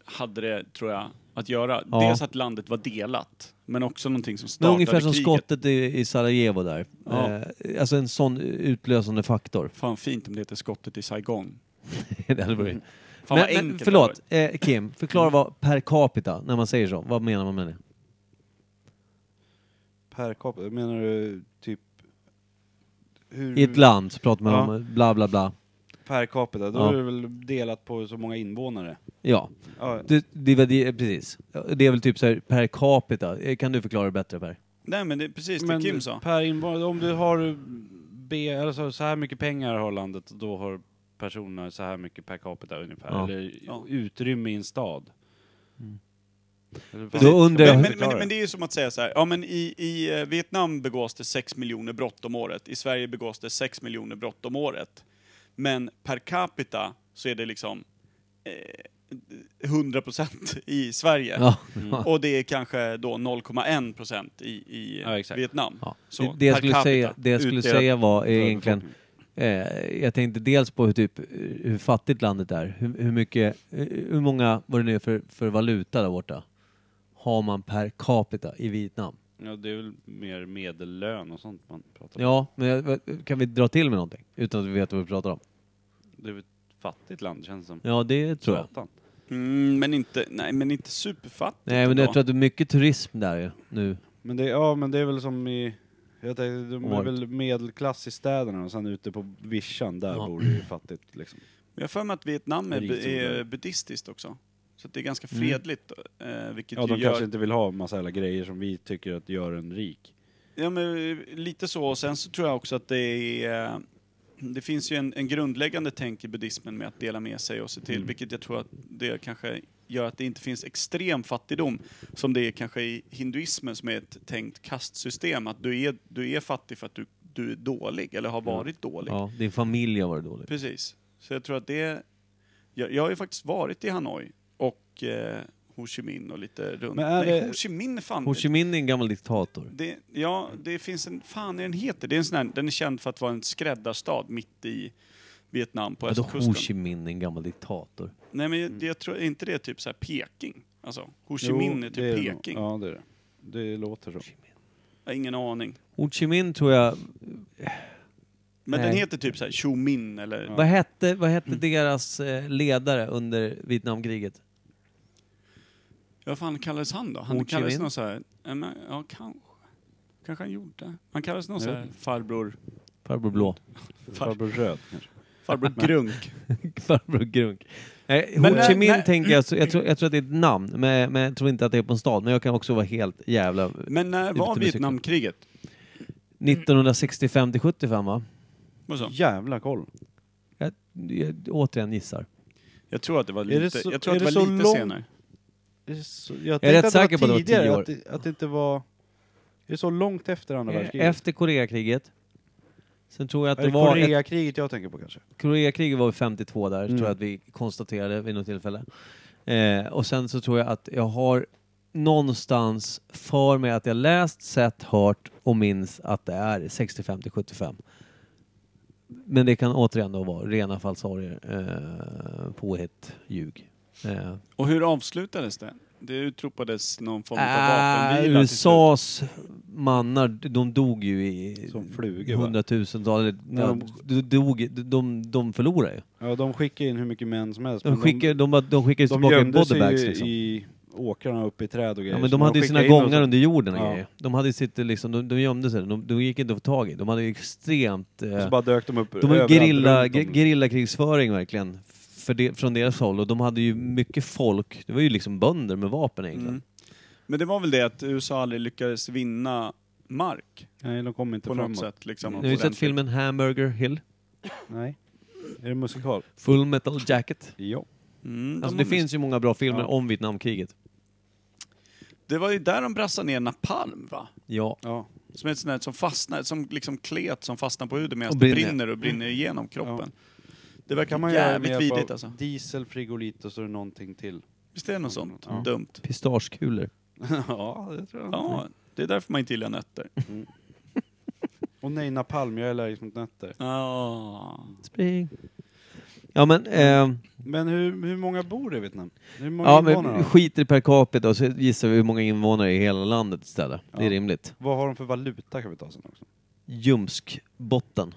Speaker 1: hade det, tror jag, att göra.
Speaker 3: Ja.
Speaker 1: Dels att landet var delat, men också någonting som
Speaker 3: Men
Speaker 1: startade
Speaker 3: ungefär som
Speaker 1: kriget.
Speaker 3: skottet i, i Sarajevo där.
Speaker 1: Ja.
Speaker 3: Eh, alltså en sån utlösande faktor.
Speaker 1: Fan fint om det heter skottet i Saigon.
Speaker 3: det hade varit...
Speaker 1: Fan vad
Speaker 3: men, men,
Speaker 1: enkelt
Speaker 3: förlåt,
Speaker 1: det Mm.
Speaker 3: eh, Kim. Förklara vad per capita, när man säger så. Vad menar man med det?
Speaker 2: Per capita, menar du typ... Hur,
Speaker 1: Mm.
Speaker 3: I ett land så pratar man
Speaker 2: Ja.
Speaker 3: om bla bla bla.
Speaker 2: Per capita, då
Speaker 3: Ja.
Speaker 2: är det väl delat på så många invånare?
Speaker 3: Ja.
Speaker 2: Ja,
Speaker 3: Det, det, var det, precis. Det är väl typ så här per capita. Eh, Kan du förklara det bättre Per?
Speaker 1: var. Nej men det är precis
Speaker 2: men
Speaker 1: det Kim sa.
Speaker 2: Per invånare, om du har B, alltså så här mycket pengar har landet, då har personer så här mycket per capita ungefär.
Speaker 3: Ja. Mm.
Speaker 2: Eller
Speaker 1: Ja.
Speaker 2: utrymme i en stad. Eller vad-
Speaker 3: Då undrar jag-
Speaker 1: Men, men, men, men det är ju som att säga så här, ja men i, i eh, Vietnam begås det 6 miljoner brott om året, i Sverige begås det 6 miljoner brott om året. Men per capita så är det liksom eh, 100% i Sverige.
Speaker 3: Ja.
Speaker 1: Och det är kanske då 0,1 procent i, i
Speaker 2: Ja, exakt.
Speaker 1: Vietnam.
Speaker 3: Ja.
Speaker 1: Så
Speaker 3: det jag
Speaker 1: per
Speaker 3: skulle,
Speaker 1: capita
Speaker 3: säga, det jag skulle
Speaker 1: utdelat
Speaker 3: säga var
Speaker 2: för
Speaker 3: är egentligen...
Speaker 2: befolkningen.
Speaker 3: Eh, jag tänkte dels på hur, typ, hur fattigt landet är. Hur, hur mycket... eh, Hur många, vad det nu är för, för valuta där borta, har man per capita i Vietnam?
Speaker 2: Ja, det är väl mer medellön och sånt man pratar om.
Speaker 3: Ja, men jag- kan vi dra till med någonting utan att vi vet vad vi pratar om?
Speaker 2: Det är väl ett fattigt land känns som.
Speaker 3: Ja, det tror jag.
Speaker 2: Satan.
Speaker 1: Mm, men inte, nej men inte superfattigt
Speaker 3: Nej, men
Speaker 1: ändå.
Speaker 3: jag tror att det är mycket turism där ju, nu.
Speaker 2: Men det, ja, men det är väl som i... Jag tänkte, de är
Speaker 3: Art.
Speaker 2: väl medelklass i städerna och sen ute på vischan, där
Speaker 3: Ja.
Speaker 2: bor det ju fattigt liksom.
Speaker 1: Jag har för mig att Vietnam är,
Speaker 2: Rikt
Speaker 1: är
Speaker 2: odlare. buddhistiskt
Speaker 1: buddhistiskt också. Så att det är ganska fredligt, eh, vilket
Speaker 2: Mm. Ja,
Speaker 1: ju
Speaker 2: de
Speaker 1: gör...
Speaker 2: kanske inte vill ha massa jävla grejer som vi tycker att gör en rik.
Speaker 1: Ja, men eh, lite så. Och sen så tror jag också att det är... eh, Det finns ju en, en grundläggande tänk i buddhismen med att dela med sig och se
Speaker 2: Mm.
Speaker 1: till, vilket jag tror att det kanske gör att det inte finns extrem fattigdom som det är kanske i hinduismen som är ett tänkt kastsystem, att du är, du är fattig för att du, du är dålig eller
Speaker 2: Mm.
Speaker 1: har varit dålig.
Speaker 3: Ja, din familj har varit dålig.
Speaker 1: Precis. Så jag tror att det... Jag, jag har ju faktiskt varit i Hanoi och eh, Ho Chi Minh och lite runt.
Speaker 2: Men är
Speaker 1: Nej,
Speaker 2: det-
Speaker 1: Ho Chi Minh är fan...
Speaker 3: Ho Chi Minh är en gammal diktator.
Speaker 1: det, ja, det finns en... Fan är den heter? Det är en sån här, den är känd för att vara en skräddarstad mitt i Vietnam på
Speaker 3: Vadå
Speaker 1: östkusten.
Speaker 3: Ho Chi Minh Mm. är en gammal diktator?
Speaker 1: Nej men jag, jag tror inte det är typ så här Peking. Alltså, Ho Chi
Speaker 2: Jo,
Speaker 1: Minh är typ
Speaker 2: det det nog.
Speaker 1: Peking.
Speaker 2: Ja, det är det. Det låter så.
Speaker 1: Jag har ingen aning.
Speaker 3: Ho Chi Minh tror jag...
Speaker 1: Men
Speaker 3: Nej.
Speaker 1: den heter typ så här Ho Minh eller...
Speaker 3: Vad hette, vad hette deras eh, ledare under Vietnamkriget?
Speaker 1: Vad fan kallades han då? Han
Speaker 3: Ho Chi
Speaker 1: kallades
Speaker 3: Minh?
Speaker 1: någon så här... Ja, men, ja kanske. Kanske han gjorde. Han kallades någon
Speaker 2: Jag
Speaker 1: så
Speaker 2: vet
Speaker 1: här farbror...
Speaker 3: Farbror Blå.
Speaker 1: Far,
Speaker 2: Farbror Röd kanske.
Speaker 1: farbror Grunk.
Speaker 3: Farbror Grunk. Nej,
Speaker 1: Men
Speaker 3: Ho Chi
Speaker 1: när-
Speaker 3: Minh
Speaker 1: när-
Speaker 3: tänker jag, så- jag tror, jag tror att det är ett namn, men, men jag tror inte att det är på en stad. Men jag kan också vara helt jävla...
Speaker 1: Men när var
Speaker 3: Ute med
Speaker 1: Vietnamkriget?
Speaker 3: 1965 till 75 va?
Speaker 1: Vad sa?
Speaker 2: Jävla koll.
Speaker 3: Jag, jag återigen gissar.
Speaker 1: Jag tror att det var
Speaker 2: det
Speaker 1: lite,
Speaker 2: så-
Speaker 1: jag tror att
Speaker 2: är
Speaker 1: det var
Speaker 2: det så
Speaker 1: lite
Speaker 2: lång-
Speaker 1: senare.
Speaker 2: Det är så- Jag,
Speaker 3: är
Speaker 2: tänkte
Speaker 3: rätt
Speaker 2: att det var
Speaker 3: säker på att det var
Speaker 2: tidigare,
Speaker 3: tio år.
Speaker 2: Att det, att det inte var... Är det så långt Eh, efter andra världskriget?
Speaker 3: Efter Koreakriget. Sen tror jag att
Speaker 2: är
Speaker 3: det
Speaker 2: det
Speaker 3: var... ett-
Speaker 2: Koreakriget jag tänker på kanske?
Speaker 3: Koreakriget var ju 52 där,
Speaker 2: Mm.
Speaker 3: tror jag att vi konstaterade vid något tillfälle. Eh, och sen så tror jag att jag har någonstans för mig att jag läst, sett, hört och minns att det är 65 till 75. Men det kan återigen då vara rena falsarier, eh, påhitt, ljug. Eh,
Speaker 1: Och hur avslutades det? Det utropades någon form av
Speaker 2: Ah,
Speaker 3: äh,
Speaker 1: vapenvila till slut.
Speaker 3: USAs mannar, de dog ju i
Speaker 2: Som flugor va?
Speaker 3: hundratusentals, eller,
Speaker 2: När de-
Speaker 3: de, dog, de, de förlorade ju.
Speaker 2: Ja, de skickar in hur mycket män som helst.
Speaker 3: De
Speaker 2: men
Speaker 3: skickade, de, bara- de skickade
Speaker 2: de
Speaker 3: tillbaka i
Speaker 2: gömde sig
Speaker 3: bodybags
Speaker 2: ju
Speaker 3: liksom.
Speaker 2: i åkrarna uppe i träd och grejer.
Speaker 3: Ja, men
Speaker 2: så
Speaker 3: de hade ju sina
Speaker 2: skickade in och
Speaker 3: gångar
Speaker 2: så-
Speaker 3: under jorden och
Speaker 2: Ja.
Speaker 3: grejer. De hade ju sitt, liksom, de, de gömde sig, de, de gick inte att få tag i. De hade ju extremt... Eh,
Speaker 2: Så bara dök de upp
Speaker 3: de var ju gerilla,
Speaker 2: runt om.
Speaker 3: ge- gerillakrigsföring verkligen, för det, från deras håll. Och de hade ju mycket folk, det var ju liksom bönder med vapen
Speaker 2: liksom.
Speaker 3: egentligen.
Speaker 1: Mm. Men det var väl det att USA aldrig lyckades vinna mark
Speaker 2: Nej, de kom inte
Speaker 1: på något
Speaker 2: framåt. Mm.
Speaker 1: sätt. Liksom,
Speaker 2: Ni
Speaker 3: Ni har ju sett
Speaker 1: ordentligt.
Speaker 3: filmen Hamburger Hill,
Speaker 2: Nej. Är det musikal?
Speaker 3: Full Metal Jacket.
Speaker 2: Ja.
Speaker 1: Mm, de
Speaker 3: Alltså
Speaker 1: har
Speaker 3: det finns ju många bra filmer
Speaker 2: Ja.
Speaker 3: om Vietnamkriget.
Speaker 1: Det var ju där de brassade ner napalm va?
Speaker 3: Ja.
Speaker 2: ja.
Speaker 1: Som ett sånt där som fastnar, som liksom klet som fastnar på huden medan
Speaker 3: Och
Speaker 1: det
Speaker 3: brinner.
Speaker 1: brinner och brinner igenom kroppen. Det
Speaker 2: Mm. Det
Speaker 1: verkar
Speaker 2: kan man göra med
Speaker 1: jävligt
Speaker 2: hjälp
Speaker 1: vidrigt
Speaker 2: av
Speaker 1: alltså.
Speaker 2: Diesel, frigolit och så är det någonting till.
Speaker 1: Visst är det något sånt
Speaker 2: Ja.
Speaker 1: dumt?
Speaker 3: Pistagekulor.
Speaker 2: ja, det tror jag.
Speaker 1: Ja, det är därför man inte gillar nötter.
Speaker 2: Och nej, napalm. Jag är allergisk mot nötter.
Speaker 1: Ah.
Speaker 3: Spring. Ja men... ehm,
Speaker 2: Men hur, hur många bor i Vietnam? Hur många
Speaker 3: Ja,
Speaker 2: invånare
Speaker 3: men
Speaker 2: har de?
Speaker 3: skiter i per capita och så gissar vi hur många invånare i hela landet istället. Det är
Speaker 2: Ja.
Speaker 3: rimligt.
Speaker 2: Vad har de för valuta kan vi ta sen också?
Speaker 3: Ljumskbotten.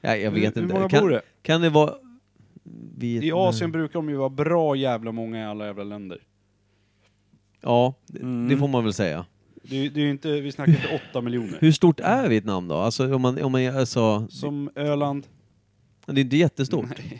Speaker 3: Nej, jag vet
Speaker 2: hur,
Speaker 3: inte.
Speaker 2: Hur många
Speaker 3: kan,
Speaker 2: bor det?
Speaker 3: kan det vara... Vietnam?
Speaker 2: I Asien brukar de ju vara bra jävla många i alla jävla länder.
Speaker 3: Ja, det,
Speaker 1: Mm.
Speaker 3: det får man väl säga.
Speaker 2: Det, är- det är ju inte, vi snackar inte åtta miljoner.
Speaker 3: Hur stort är Vietnam då? Alltså, om man, om man, alltså,
Speaker 2: Som Öland.
Speaker 3: det är inte jättestort.
Speaker 1: Nej,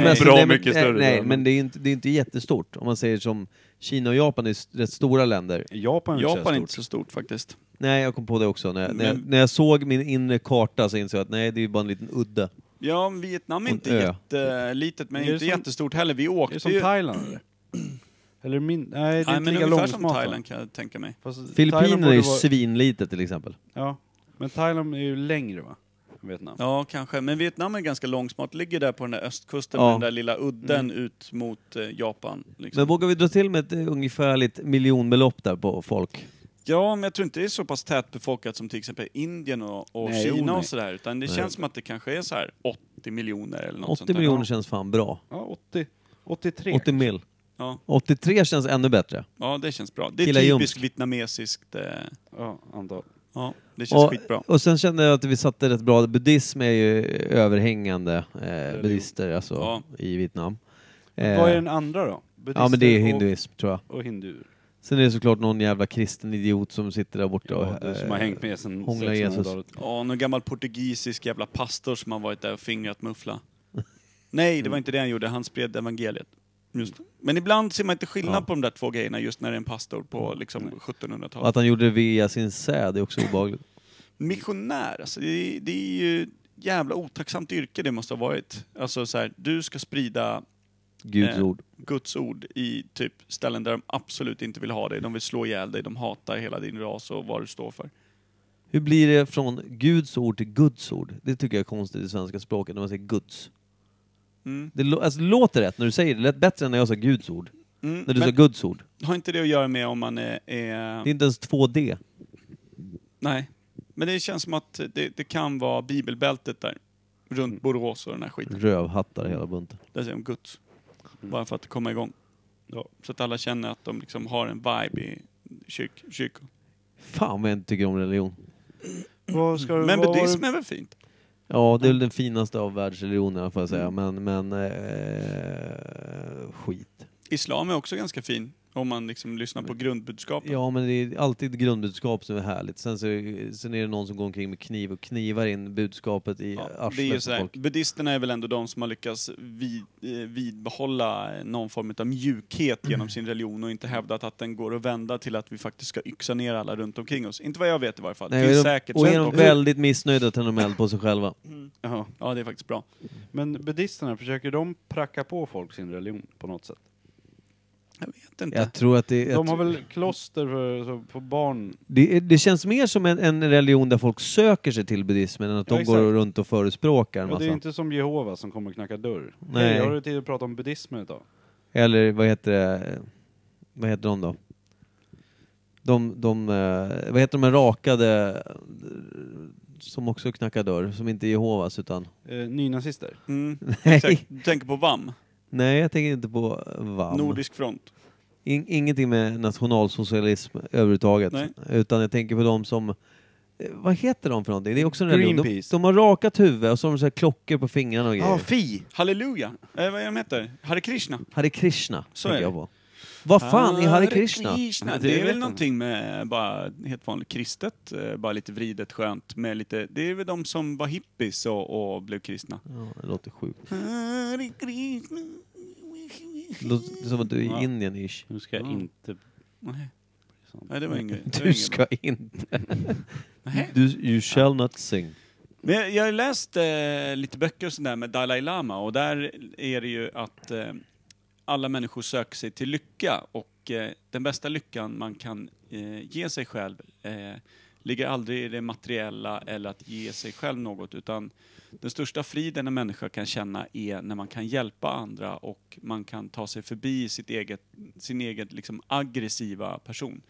Speaker 3: men alltså,
Speaker 1: bra
Speaker 3: nej, men-
Speaker 1: mycket
Speaker 3: nej,
Speaker 1: större.
Speaker 3: Nej, men det är, inte, det är inte jättestort. Om man säger som Kina och Japan är s- rätt stora länder.
Speaker 2: Japan är
Speaker 1: Japan är
Speaker 2: inte
Speaker 1: inte
Speaker 2: så
Speaker 1: så stort faktiskt.
Speaker 3: Nej, jag kom på det också. När jag, när jag,
Speaker 1: Men-
Speaker 3: när jag såg min inre karta så insåg jag att nej, det är ju bara en liten udde.
Speaker 1: Ja, men Vietnam
Speaker 3: Och
Speaker 1: är
Speaker 3: en
Speaker 1: inte
Speaker 3: ö.
Speaker 1: jättelitet men
Speaker 2: Är det
Speaker 1: inte
Speaker 2: som-
Speaker 1: jättestort heller. Vi
Speaker 2: stort. Är
Speaker 1: åkte
Speaker 2: det som
Speaker 1: ju...
Speaker 2: Thailand eller? Eller min... Nej, det är
Speaker 1: Nej,
Speaker 2: inte
Speaker 1: men
Speaker 2: lika
Speaker 1: ungefär som
Speaker 2: långsmalt. va?
Speaker 1: Thailand kan jag tänka mig.
Speaker 2: Fast Thailand
Speaker 3: Filippinerna är
Speaker 2: borde
Speaker 3: ju
Speaker 2: vara-
Speaker 3: svinlitet till exempel.
Speaker 2: Ja. Men Thailand är ju längre va? än Vietnam.
Speaker 1: Ja, kanske. Men Vietnam är ganska långsmart. Ligger där på den där östkusten
Speaker 3: Ja.
Speaker 1: med den där lilla
Speaker 2: Mm.
Speaker 1: udden ut mot eh, Japan. Liksom.
Speaker 3: Men vågar vi dra till med ett eh, ungefärligt miljonbelopp där på folk?
Speaker 1: Ja, men jag tror inte det är så pass tätbefolkat som till exempel Indien och, och
Speaker 2: Nej, jo,
Speaker 3: oh,
Speaker 1: Kina
Speaker 2: nej.
Speaker 1: och sådär. Utan det känns som att det kanske är så här 80 miljoner eller något
Speaker 3: 80
Speaker 1: sånt där.
Speaker 3: miljoner känns fan bra.
Speaker 2: Ja, 80. 83.
Speaker 3: 80 mil.
Speaker 1: Ja,
Speaker 3: 83 känns ännu bättre.
Speaker 1: ja, det känns bra. Det är
Speaker 3: Killa
Speaker 1: typiskt
Speaker 3: ljumsk.
Speaker 1: vietnamesiskt. Eh,
Speaker 2: Ja, antal.
Speaker 1: ja, det känns
Speaker 3: Och,
Speaker 1: skitbra.
Speaker 3: och sen kände jag att vi satte rätt bra. Buddhism är ju överhängande eh, buddhister alltså,
Speaker 1: Ja.
Speaker 3: i Vietnam.
Speaker 2: Vad är
Speaker 3: Eh,
Speaker 2: den andra då?
Speaker 3: ja men det är
Speaker 2: Buddister
Speaker 3: hinduism tror jag.
Speaker 2: Och, och hinduer.
Speaker 3: Sen är det såklart någon jävla kristen idiot som sitter där borta
Speaker 2: Ja,
Speaker 3: och
Speaker 2: det som har hängt med sen
Speaker 3: eh, hånglar Jesus.
Speaker 2: 1600-talet.
Speaker 1: Ja, någon gammal portugisisk jävla pastor som har varit där och fingrat muffla. Nej, det var inte det han gjorde. Han spred evangeliet. Just. Men ibland ser man inte skillnad
Speaker 3: Ja.
Speaker 1: på de där två grejerna just när det är en pastor på liksom
Speaker 3: Och att
Speaker 1: 1700-talet.
Speaker 3: han gjorde det via sin säd är också obehagligt.
Speaker 1: Missionär, alltså, det, är- det är ju ett jävla otacksamt yrke det måste ha varit. Alltså så här, du ska sprida
Speaker 3: Guds
Speaker 1: Eh,
Speaker 3: ord.
Speaker 1: Guds ord i typ ställen där de absolut inte vill ha dig. De vill slå ihjäl dig, de hatar hela din ras och vad du står för.
Speaker 3: Hur blir det från Guds ord till Guds ord? Det tycker jag är konstigt i svenska språket, när man säger Guds.
Speaker 1: Mm.
Speaker 3: Det lå- alltså, det låter rätt när du säger det, det lät bättre än när jag sa Guds ord.
Speaker 1: Mm.
Speaker 3: När du
Speaker 1: Men
Speaker 3: sa Guds ord.
Speaker 1: har inte det att göra med om man är... är...
Speaker 3: Det är inte ens 2D.
Speaker 1: Nej. Men det känns som att det, det kan vara bibelbältet där. Runt Borås och den här skiten.
Speaker 3: Rövhattar hela bunten.
Speaker 1: Där säger de Guds. Bara för att komma igång. Så att alla känner att de liksom har en vibe i kyrk, kyrkor.
Speaker 3: Fan vad jag inte tycker om religion.
Speaker 2: Vad ska du,
Speaker 1: Men
Speaker 2: vad var
Speaker 1: buddhism är väl fint?
Speaker 3: Ja, det är väl den finaste av världsreligionerna
Speaker 1: Mm.
Speaker 3: får jag säga, men, men eh, skit.
Speaker 1: Islam är också ganska fin. Om man liksom lyssnar på grundbudskapet.
Speaker 3: Ja, men det är alltid grundbudskap som är härligt. Sen, så, sen är det någon som går omkring med kniv och knivar in budskapet i
Speaker 1: Ja,
Speaker 3: arslet
Speaker 1: det är ju
Speaker 3: på
Speaker 1: så här,
Speaker 3: folk.
Speaker 1: buddhisterna är väl ändå de som har lyckats vid, eh, vidbehålla någon form av mjukhet
Speaker 3: Mm.
Speaker 1: genom sin religion och inte hävdat att den går att vända till att vi faktiskt ska yxa ner alla runt omkring oss. Inte vad jag vet i varje fall.
Speaker 3: Nej,
Speaker 1: det
Speaker 3: och
Speaker 1: finns
Speaker 3: de-
Speaker 1: säkert
Speaker 3: och är de
Speaker 1: sånt också.
Speaker 3: väldigt missnöjda att de eld på sig själva.
Speaker 2: Mm. Ja.
Speaker 1: Ja, det är faktiskt bra.
Speaker 2: Men buddhisterna, försöker de pracka på folk sin religion på något sätt?
Speaker 1: Jag vet inte.
Speaker 3: Jag tror att det, jag
Speaker 2: De har
Speaker 3: tr-
Speaker 2: väl kloster för, så- för barn?
Speaker 3: det, är- det känns mer som en, en religion där folk söker sig till buddhismen än att
Speaker 2: Ja,
Speaker 3: de
Speaker 2: exakt.
Speaker 3: går runt och förespråkar en
Speaker 2: Ja,
Speaker 3: massa.
Speaker 2: det är inte som Jehova som kommer och knackar dörr.
Speaker 3: Nej.
Speaker 2: Hej, har du tid att prata om buddhismen idag?
Speaker 3: Eller vad heter det? Vad heter de då? De, de, eh, vad heter de här rakade eh, som också knackar dörr, som inte är Jehovas utan...
Speaker 2: Eh, nynazister?
Speaker 1: Mm,
Speaker 3: Nej.
Speaker 1: exakt. Du tänker på VAM,
Speaker 3: Nej, jag tänker inte på VAM.
Speaker 1: Nordisk front.
Speaker 3: In, ingenting med nationalsocialism överhuvudtaget.
Speaker 1: Nej.
Speaker 3: Utan jag tänker på de som... eh, Vad heter de för någonting? Det är också en religion. De,
Speaker 2: Greenpeace.
Speaker 3: de har rakat huvud och så har de så här klockor på fingrarna och grejer.
Speaker 2: fi!
Speaker 1: Halleluja! Eh, vad är de heter? Hare Krishna?
Speaker 3: Hare Krishna,
Speaker 1: Så
Speaker 3: tänker
Speaker 1: är
Speaker 3: jag
Speaker 1: det. Ah,
Speaker 3: på. Vad fan är Hare Krishna?
Speaker 1: Krishna?
Speaker 2: Ja,
Speaker 1: Det
Speaker 2: det
Speaker 1: är
Speaker 2: vet
Speaker 1: väl
Speaker 2: jag
Speaker 1: någonting med bara helt vanligt kristet, eh, bara lite vridet skönt med lite, det är väl de som var hippies och, och blev kristna.
Speaker 3: Ja, det låter sjukt.
Speaker 1: Hare Krishna.
Speaker 3: Det låter som att du är
Speaker 1: Ja.
Speaker 3: i Indien ish.
Speaker 2: Nu ska jag
Speaker 1: Ja.
Speaker 2: inte...
Speaker 1: Nej, nej, det var inget. det var
Speaker 3: Du
Speaker 1: inget
Speaker 3: ska
Speaker 1: bra.
Speaker 3: inte.
Speaker 1: Nej.
Speaker 3: Du, you shall not sing.
Speaker 1: Men jag, jag har läst eh, lite böcker och sådär med Dalai Lama och där är det ju att eh, alla människor söker sig till lycka och eh, den bästa lyckan man kan eh, ge sig själv eh, ligger aldrig i det materiella eller att ge sig själv något utan den största friden en människa kan känna är när man kan hjälpa andra och man kan ta sig förbi sitt eget, sin egen liksom aggressiva person.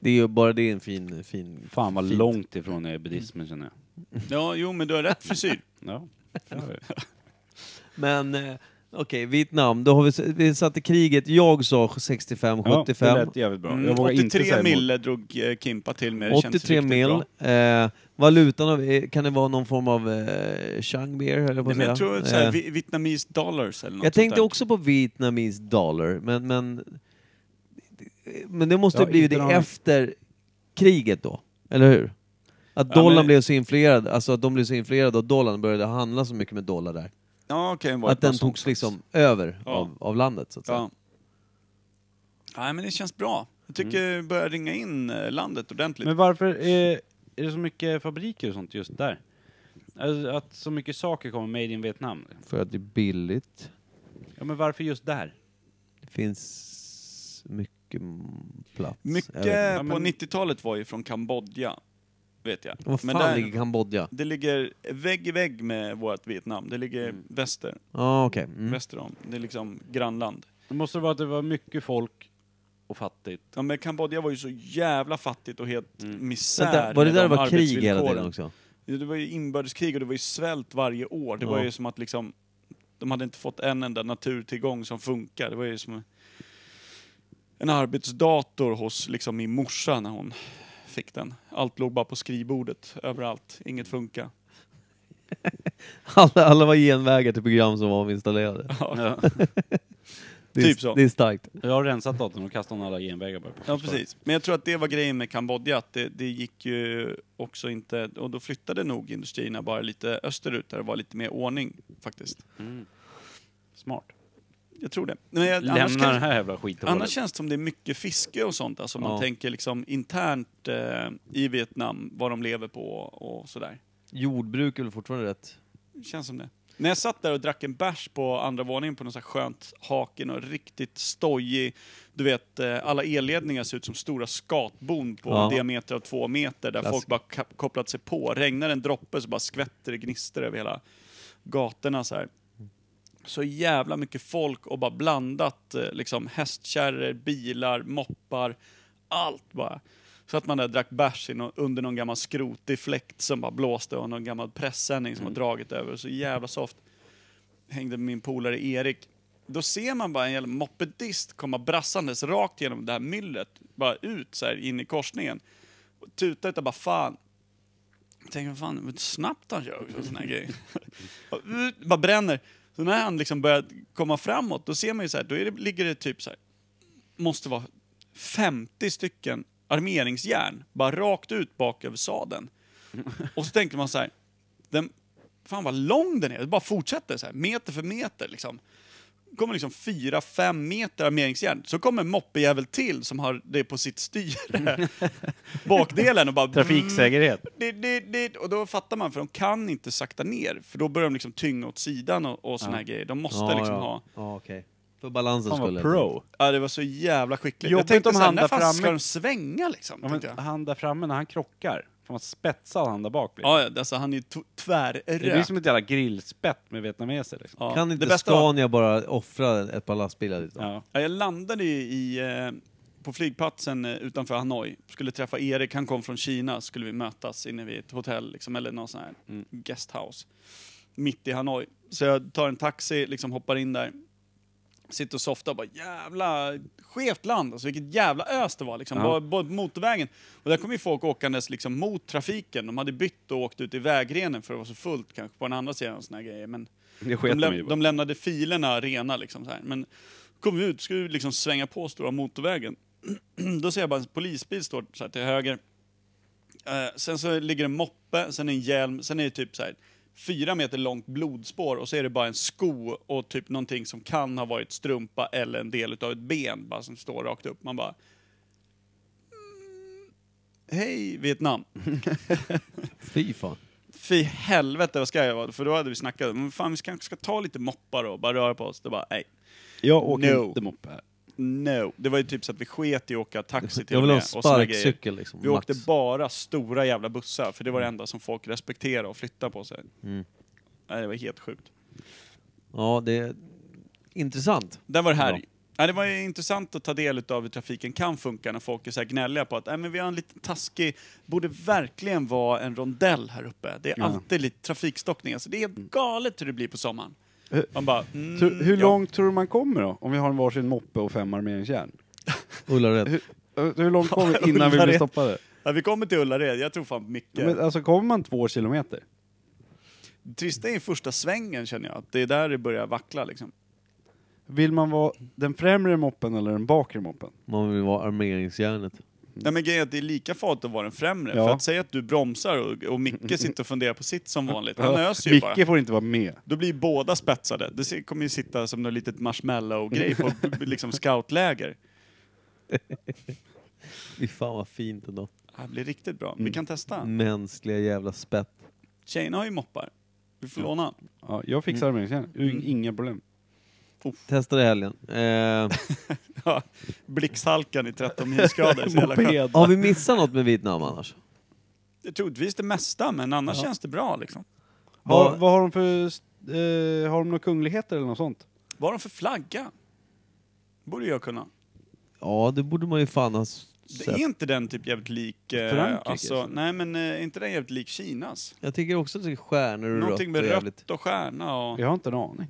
Speaker 3: Det är ju bara det är en fin, fin...
Speaker 2: Fan vad
Speaker 3: Fint.
Speaker 2: långt ifrån jag är buddhismen känner jag.
Speaker 1: Ja, jo men du har rätt frisyr.
Speaker 2: Ja.
Speaker 3: Men eh, okej, Vietnam. Då har vi, s- vi satte kriget. Jag sa 65,
Speaker 2: Ja, det
Speaker 3: 75.
Speaker 2: lät jävligt bra.
Speaker 1: Mm,
Speaker 2: jag vågar inte
Speaker 1: 83
Speaker 2: säga emot.
Speaker 1: mille drog eh, Kimpa till med. Det känns
Speaker 3: 83
Speaker 1: riktigt
Speaker 3: mil.
Speaker 1: bra.
Speaker 3: Eh, valutan, av, eh, kan det vara någon form av eh, Chang beer? höll jag på
Speaker 1: Nej,
Speaker 3: att
Speaker 1: men jag
Speaker 3: säga.
Speaker 1: tror att såhär,
Speaker 3: Eh,
Speaker 1: vi- Vietnamese dollars eller något
Speaker 3: jag tänkte
Speaker 1: sånt där.
Speaker 3: också på Vietnamese dollar, men, men, men det måste
Speaker 2: Ja,
Speaker 3: ha blivit
Speaker 2: inte
Speaker 3: det
Speaker 2: någon-
Speaker 3: efter kriget då, eller hur? Att
Speaker 1: Ja,
Speaker 3: dollarn
Speaker 1: men-
Speaker 3: blev så influerad, alltså att de blev så influerade och dollarn började handla så mycket med dollar där.
Speaker 1: Ja, okej, det var
Speaker 3: Att
Speaker 1: ett par
Speaker 3: den
Speaker 1: sånt
Speaker 3: togs
Speaker 1: också.
Speaker 3: liksom över
Speaker 1: Ja.
Speaker 3: av, av landet så att säga.
Speaker 1: Ja. Nej, men det känns bra. Jag tycker
Speaker 3: Mm.
Speaker 1: vi börjar ringa in eh, landet ordentligt.
Speaker 2: Men varför är, är det så mycket fabriker och sånt just där? Alltså, att så mycket saker kommer made in Vietnam.
Speaker 3: För att det är billigt.
Speaker 2: Ja, men varför just där?
Speaker 3: Det finns mycket mm, plats. jag
Speaker 1: Mycket
Speaker 3: vet inte.
Speaker 2: Ja,
Speaker 1: på
Speaker 2: men-
Speaker 1: 90-talet var ju från Kambodja, vet jag.
Speaker 3: Vad
Speaker 1: men
Speaker 3: fan
Speaker 1: där,
Speaker 3: ligger Kambodja?
Speaker 1: det ligger vägg i vägg med vårt Vietnam. Det ligger väster,
Speaker 3: Ja, okej. Mm.
Speaker 1: väster om. Det är liksom grannland.
Speaker 2: Det måste vara att det var mycket folk och fattigt.
Speaker 1: Ja, men Kambodja var ju så jävla fattigt och helt misär.
Speaker 3: Mm. Vänta, var det
Speaker 1: med
Speaker 3: där det
Speaker 1: de
Speaker 3: var krig hela tiden
Speaker 1: arbetsvillkoren.
Speaker 3: också?
Speaker 1: Ja, Det var ju inbördeskrig och det var ju svält varje år. Det var
Speaker 3: Ja.
Speaker 1: ju som att liksom, de hade inte fått en enda naturtillgång som funkar. Det var ju som en arbetsdator hos liksom min morsa när hon fick den. Allt låg bara på skrivbordet överallt. Inget funkar.
Speaker 3: Alla, alla var genvägar till program som var avinstallerade. Det
Speaker 1: Ja,
Speaker 3: är,
Speaker 1: Typ så.
Speaker 3: Det är starkt.
Speaker 2: Jag har rensat datorn och kastat alla genvägar bara. på
Speaker 1: ja
Speaker 2: förstår.
Speaker 1: precis. Men jag tror att det var grejen med Kambodja, att det, det gick ju också inte... Och då flyttade nog industrierna bara lite österut där det var lite mer ordning faktiskt.
Speaker 2: Mm. Smart.
Speaker 1: Jag tror det. Men jag, annars
Speaker 2: Lämna
Speaker 1: kanske-
Speaker 2: den här jävla skiten.
Speaker 1: Annars känns det som det är mycket fiske och sånt, alltså om man
Speaker 3: Ja.
Speaker 1: tänker liksom internt eh, i Vietnam, vad de lever på och, och sådär.
Speaker 3: Jordbruk är väl fortfarande rätt?
Speaker 1: Känns som det. När jag satt där och drack en bärs på andra våningen på något så här skönt haken och riktigt stojig, du vet eh, alla elledningar ser ut som stora skatbon på
Speaker 3: Ja.
Speaker 1: en diameter av två meter där
Speaker 3: Klassik.
Speaker 1: folk bara kap- kopplat sig på. Regnar en droppe så bara skvätter det gnistor över hela gatorna så här. Så jävla mycket folk och bara blandat eh, liksom hästkärror, bilar, moppar, allt bara. Så att man där drack bärs i nå- under någon gammal skrotig fläkt som bara blåste och någon gammal pressändning som har dragit över. Så jävla soft. Hängde med min polare Erik. Då ser man bara en jävla mopedist komma brassandes rakt genom det här myllret. Bara ut så här in i korsningen. Och tuta utav bara fan. Jag tänker, vad fan, vad snabbt han kör också, sån här grej. Och ut, bara bränner. Så när han liksom börjar komma framåt, då ser man ju så här, då är det, ligger det typ så här måste vara 50 stycken armeringsjärn bara rakt ut bak över sadeln. Och så tänker man så här, den, fan vad lång den är, det bara fortsätter så här, meter för meter liksom. kommer liksom fyra, fem meter armeringsjärn, så kommer en moppejävel till som har det på sitt styre, bakdelen och bara...
Speaker 6: Trafiksäkerhet.
Speaker 1: Dit, dit, dit. Och då fattar man, för de kan inte sakta ner, för då börjar de liksom tynga åt sidan och, och såna här grejer. De måste
Speaker 3: ja,
Speaker 1: liksom
Speaker 3: ja.
Speaker 1: ha...
Speaker 3: Ja, okej. För balansens
Speaker 6: Han
Speaker 3: skull.
Speaker 6: var pro.
Speaker 1: Ja, det var så jävla skickligt.
Speaker 2: Jobbigt
Speaker 1: jag tänkte
Speaker 2: om
Speaker 1: såhär,
Speaker 2: han
Speaker 1: när
Speaker 2: där
Speaker 1: fan ska
Speaker 2: framme-
Speaker 1: de svänga liksom?
Speaker 2: Ja, men,
Speaker 1: tänkte jag.
Speaker 2: han där framme när han krockar, får man spetsad han där bak blir.
Speaker 1: Ja, ja, alltså han är ju t-
Speaker 2: det är ju
Speaker 1: tvärrökt.
Speaker 2: som ett jävla grillspett med vietnameser liksom.
Speaker 1: Ja,
Speaker 3: Kan
Speaker 1: det
Speaker 3: inte
Speaker 1: bästa var-
Speaker 3: Scania bara offra ett par lastbilar dit? då?
Speaker 2: Ja.
Speaker 1: Ja, jag landade ju i, eh, på flygplatsen eh, utanför Hanoi. Skulle träffa Erik, han kom från Kina, skulle vi mötas inne vid ett hotell liksom, eller någon sån här guesthouse. Mitt i Hanoi. Så jag tar en taxi, liksom hoppar in där. Sitter och softar och bara jävla skevt land, alltså vilket jävla ös det var liksom. Bara, bara motorvägen. Och där kom ju folk åkandes liksom mot trafiken. De hade bytt och åkt ut i vägrenen för det var så fullt kanske på den andra sidan och såna här grejer. Men
Speaker 2: Det sket
Speaker 1: de,
Speaker 2: de,
Speaker 1: läm-
Speaker 2: ju bara.
Speaker 1: de lämnade filerna rena liksom så här. Men kom vi ut, skulle vi liksom svänga på stora motorvägen. Då ser jag bara en polisbil står så här till höger. Eh, sen så ligger en moppe, sen en hjälm, sen är det typ så här fyra meter långt blodspår och så är det bara en sko och typ någonting som kan ha varit strumpa eller en del utav ett ben bara som står rakt upp. Man bara... Mm, hej Vietnam!
Speaker 3: Fy fan.
Speaker 1: Fy helvete vad ska jag vara, för då hade vi snackat men fan vi kanske ska ta lite moppar och bara röra på oss. Det bara, nej.
Speaker 2: Jag åker
Speaker 1: No.
Speaker 2: inte moppe här.
Speaker 1: No. Det var ju typ så att vi sket i att åka taxi till
Speaker 3: Jag
Speaker 1: och
Speaker 3: vill ha en
Speaker 1: med. och såna grejer.
Speaker 3: sparkcykel liksom.
Speaker 1: Vi
Speaker 3: max.
Speaker 1: åkte bara stora jävla bussar, för det var det enda som folk respekterade och flyttade på sig.
Speaker 3: Mm.
Speaker 1: Nej, det var helt sjukt.
Speaker 3: Ja, det är intressant.
Speaker 1: Där var det här.
Speaker 3: Bra.
Speaker 1: Ja, det var ju intressant att ta del av hur trafiken kan funka när folk är så här gnälliga på att Nej, men vi har en liten taskig, borde verkligen vara en rondell här uppe. Det är
Speaker 2: Ja.
Speaker 1: alltid lite trafikstockning. Alltså, det är helt galet hur det blir på sommaren.
Speaker 2: Hur-
Speaker 1: Man bara, mm,
Speaker 2: Tror- Eh, hur
Speaker 1: ja.
Speaker 2: långt tror du man kommer då? Om vi har en varsin moppe och fem armeringsjärn?
Speaker 3: Ullared.
Speaker 2: Eh, Hur långt kommer vi innan vi blir
Speaker 1: Ullared.
Speaker 2: stoppade?
Speaker 1: Ja, vi kommer till Ullared, jag tror fan mycket.
Speaker 2: Men, alltså kommer man två kilometer?
Speaker 1: Trista är i första svängen känner jag, att det är där det börjar vackla liksom.
Speaker 2: Mm. Vill man vara den främre moppen eller den bakre moppen?
Speaker 3: Man vill vara armeringsjärnet.
Speaker 1: Nej men grejen är att det är lika farligt att vara den främre.
Speaker 2: Ja.
Speaker 1: För att säga att du bromsar och, och Micke sitter och funderar på sitt som vanligt. Han öser ju bara.
Speaker 2: Micke får inte vara med.
Speaker 1: Då blir båda spetsade. Det ser- kommer ju sitta som något litet marshmallow-grej på b- liksom scoutläger.
Speaker 3: Fy fan vad fint ändå.
Speaker 1: Det här blir riktigt bra. Vi kan
Speaker 3: Mm.
Speaker 1: testa.
Speaker 3: Mänskliga jävla spett.
Speaker 1: Tjejerna har ju moppar. Vi får låna.
Speaker 2: Ja, jag fixar
Speaker 1: Mm.
Speaker 2: armeringsjärn. U- Inga problem.
Speaker 3: Testa det i helgen. Eh,
Speaker 1: Ja. Blixthalkan i 13 minusgrader. Så jävla skönt.
Speaker 3: har vi missat något med Vietnam annars?
Speaker 1: Det är troligtvis det mesta, men annars känns det bra liksom.
Speaker 2: Har,
Speaker 3: Vad-
Speaker 2: vad har de för... Eh, har de några kungligheter eller något sånt?
Speaker 1: Vad har de för flagga? Borde jag kunna.
Speaker 3: Ja, det borde man ju fan ha s-
Speaker 1: Det är
Speaker 3: sett.
Speaker 1: inte den typ jävligt lik... eh,
Speaker 2: Frankrike,
Speaker 1: Alltså,
Speaker 2: alltså.
Speaker 1: nej men eh, är inte den jävligt lik Kinas?
Speaker 3: Jag tycker också att det är stjärnor och
Speaker 1: Någonting
Speaker 3: rött
Speaker 1: med
Speaker 3: och jävligt.
Speaker 1: rött och stjärna och...
Speaker 2: Jag har inte en aning.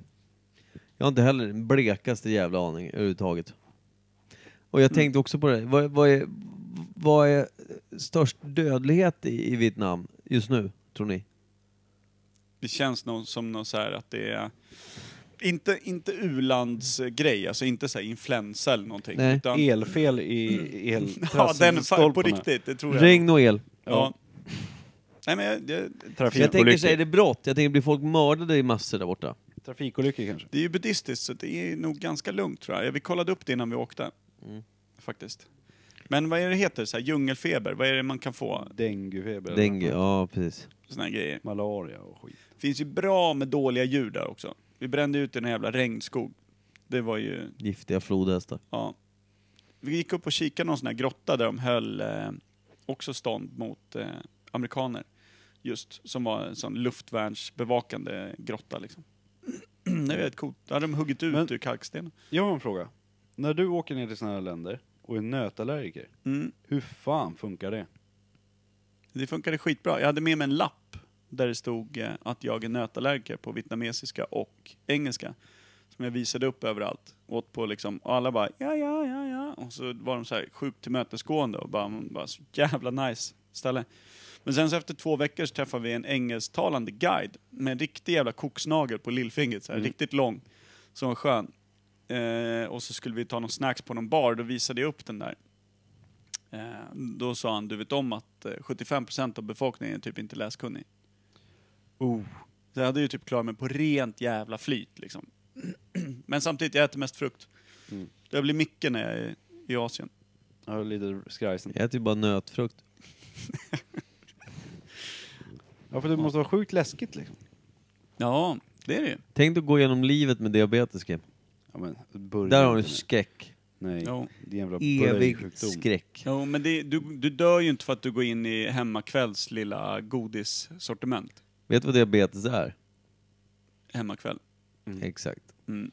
Speaker 3: Jag har inte heller den blekaste jävla aning överhuvudtaget. Och
Speaker 1: Mm.
Speaker 3: jag tänkte också på det. Vad, vad, är, vad är störst dödlighet i, i Vietnam just nu, tror ni?
Speaker 1: Det känns nog som något så här att det är... Inte, inte u-landsgrej, alltså inte så här influensa eller någonting.
Speaker 3: Nej,
Speaker 1: utan,
Speaker 2: Elfel i
Speaker 1: Mm. ja, den fa-
Speaker 2: eltrasselstolparna.
Speaker 1: på riktigt, det tror jag.
Speaker 3: Regn och el.
Speaker 1: Ja. Nej men jag, det,
Speaker 3: Jag tänker så här, är
Speaker 2: Trafikolyckor.
Speaker 3: det brott? Jag tänker blir folk mördade i massor där borta?
Speaker 2: Trafikolyckor kanske.
Speaker 1: det är ju buddhistiskt så det är nog ganska lugnt tror jag. Vi kollade upp det innan vi åkte.
Speaker 3: Mm.
Speaker 1: Faktiskt. Men vad är det heter? Så här, djungelfeber, vad är det man kan få?
Speaker 2: Denguefeber. eller
Speaker 3: Dengue, ja precis.
Speaker 1: Såna här grejer.
Speaker 2: Malaria och skit.
Speaker 1: finns ju bra med dåliga djur där också. Vi brände ut en jävla regnskog. Det var ju,
Speaker 3: Giftiga flodhästar.
Speaker 1: ja. Vi gick upp och kikade någon sån här grotta där de höll eh, också stånd mot eh, amerikaner. Just, som var en sån luftvärnsbevakande grotta liksom. Det var rätt coolt. Där hade de huggit ut
Speaker 2: Men-
Speaker 1: ur kalkstenen.
Speaker 2: Jag har en fråga. När du åker ner till sådana här länder och är nötallergiker,
Speaker 1: Mm.
Speaker 2: hur fan funkar det?
Speaker 1: Det funkade skitbra. Jag hade med mig en lapp där det stod eh, att jag är nötallergiker på vietnamesiska och engelska. Som jag visade upp överallt. Åt på liksom, och alla bara ja, ja, ja, ja. Och så var de så här sjukt tillmötesgående och bara, man bara så jävla nice ställe. Men sen så efter två veckor så träffade vi en engelsktalande guide med en riktig jävla koksnagel på lillfingret, så här, riktigt lång. Som var skön. Eh, och så skulle vi ta någon snacks på någon bar, då visade jag upp den där. Eh, då sa han, du vet om att eh, 75% av befolkningen är typ inte läskunnig. Oh. Så jag hade ju typ klarat mig på rent jävla flyt liksom. Men samtidigt, jag äter mest frukt.
Speaker 2: Mm.
Speaker 1: Det blir mycket när jag är i Asien.
Speaker 2: Jag har lite skrajsen.
Speaker 3: Jag äter ju bara nötfrukt.
Speaker 2: Ja, för det måste vara sjukt läskigt liksom.
Speaker 1: Ja, det är det ju.
Speaker 3: Tänk dig att gå igenom livet med diabetes, Kim.
Speaker 2: Ja, men börja
Speaker 3: Där har du
Speaker 2: inte med-
Speaker 3: skräck.
Speaker 2: Nej,
Speaker 1: Jo.
Speaker 2: det är en jävla
Speaker 3: Evig
Speaker 2: böjsjukdom.
Speaker 3: skräck.
Speaker 1: Jo, men det, du, du dör ju inte för att du går in i hemmakvälls lilla godissortiment.
Speaker 3: Vet du vad diabetes är?
Speaker 1: Hemmakväll.
Speaker 3: Exakt.
Speaker 1: Mm.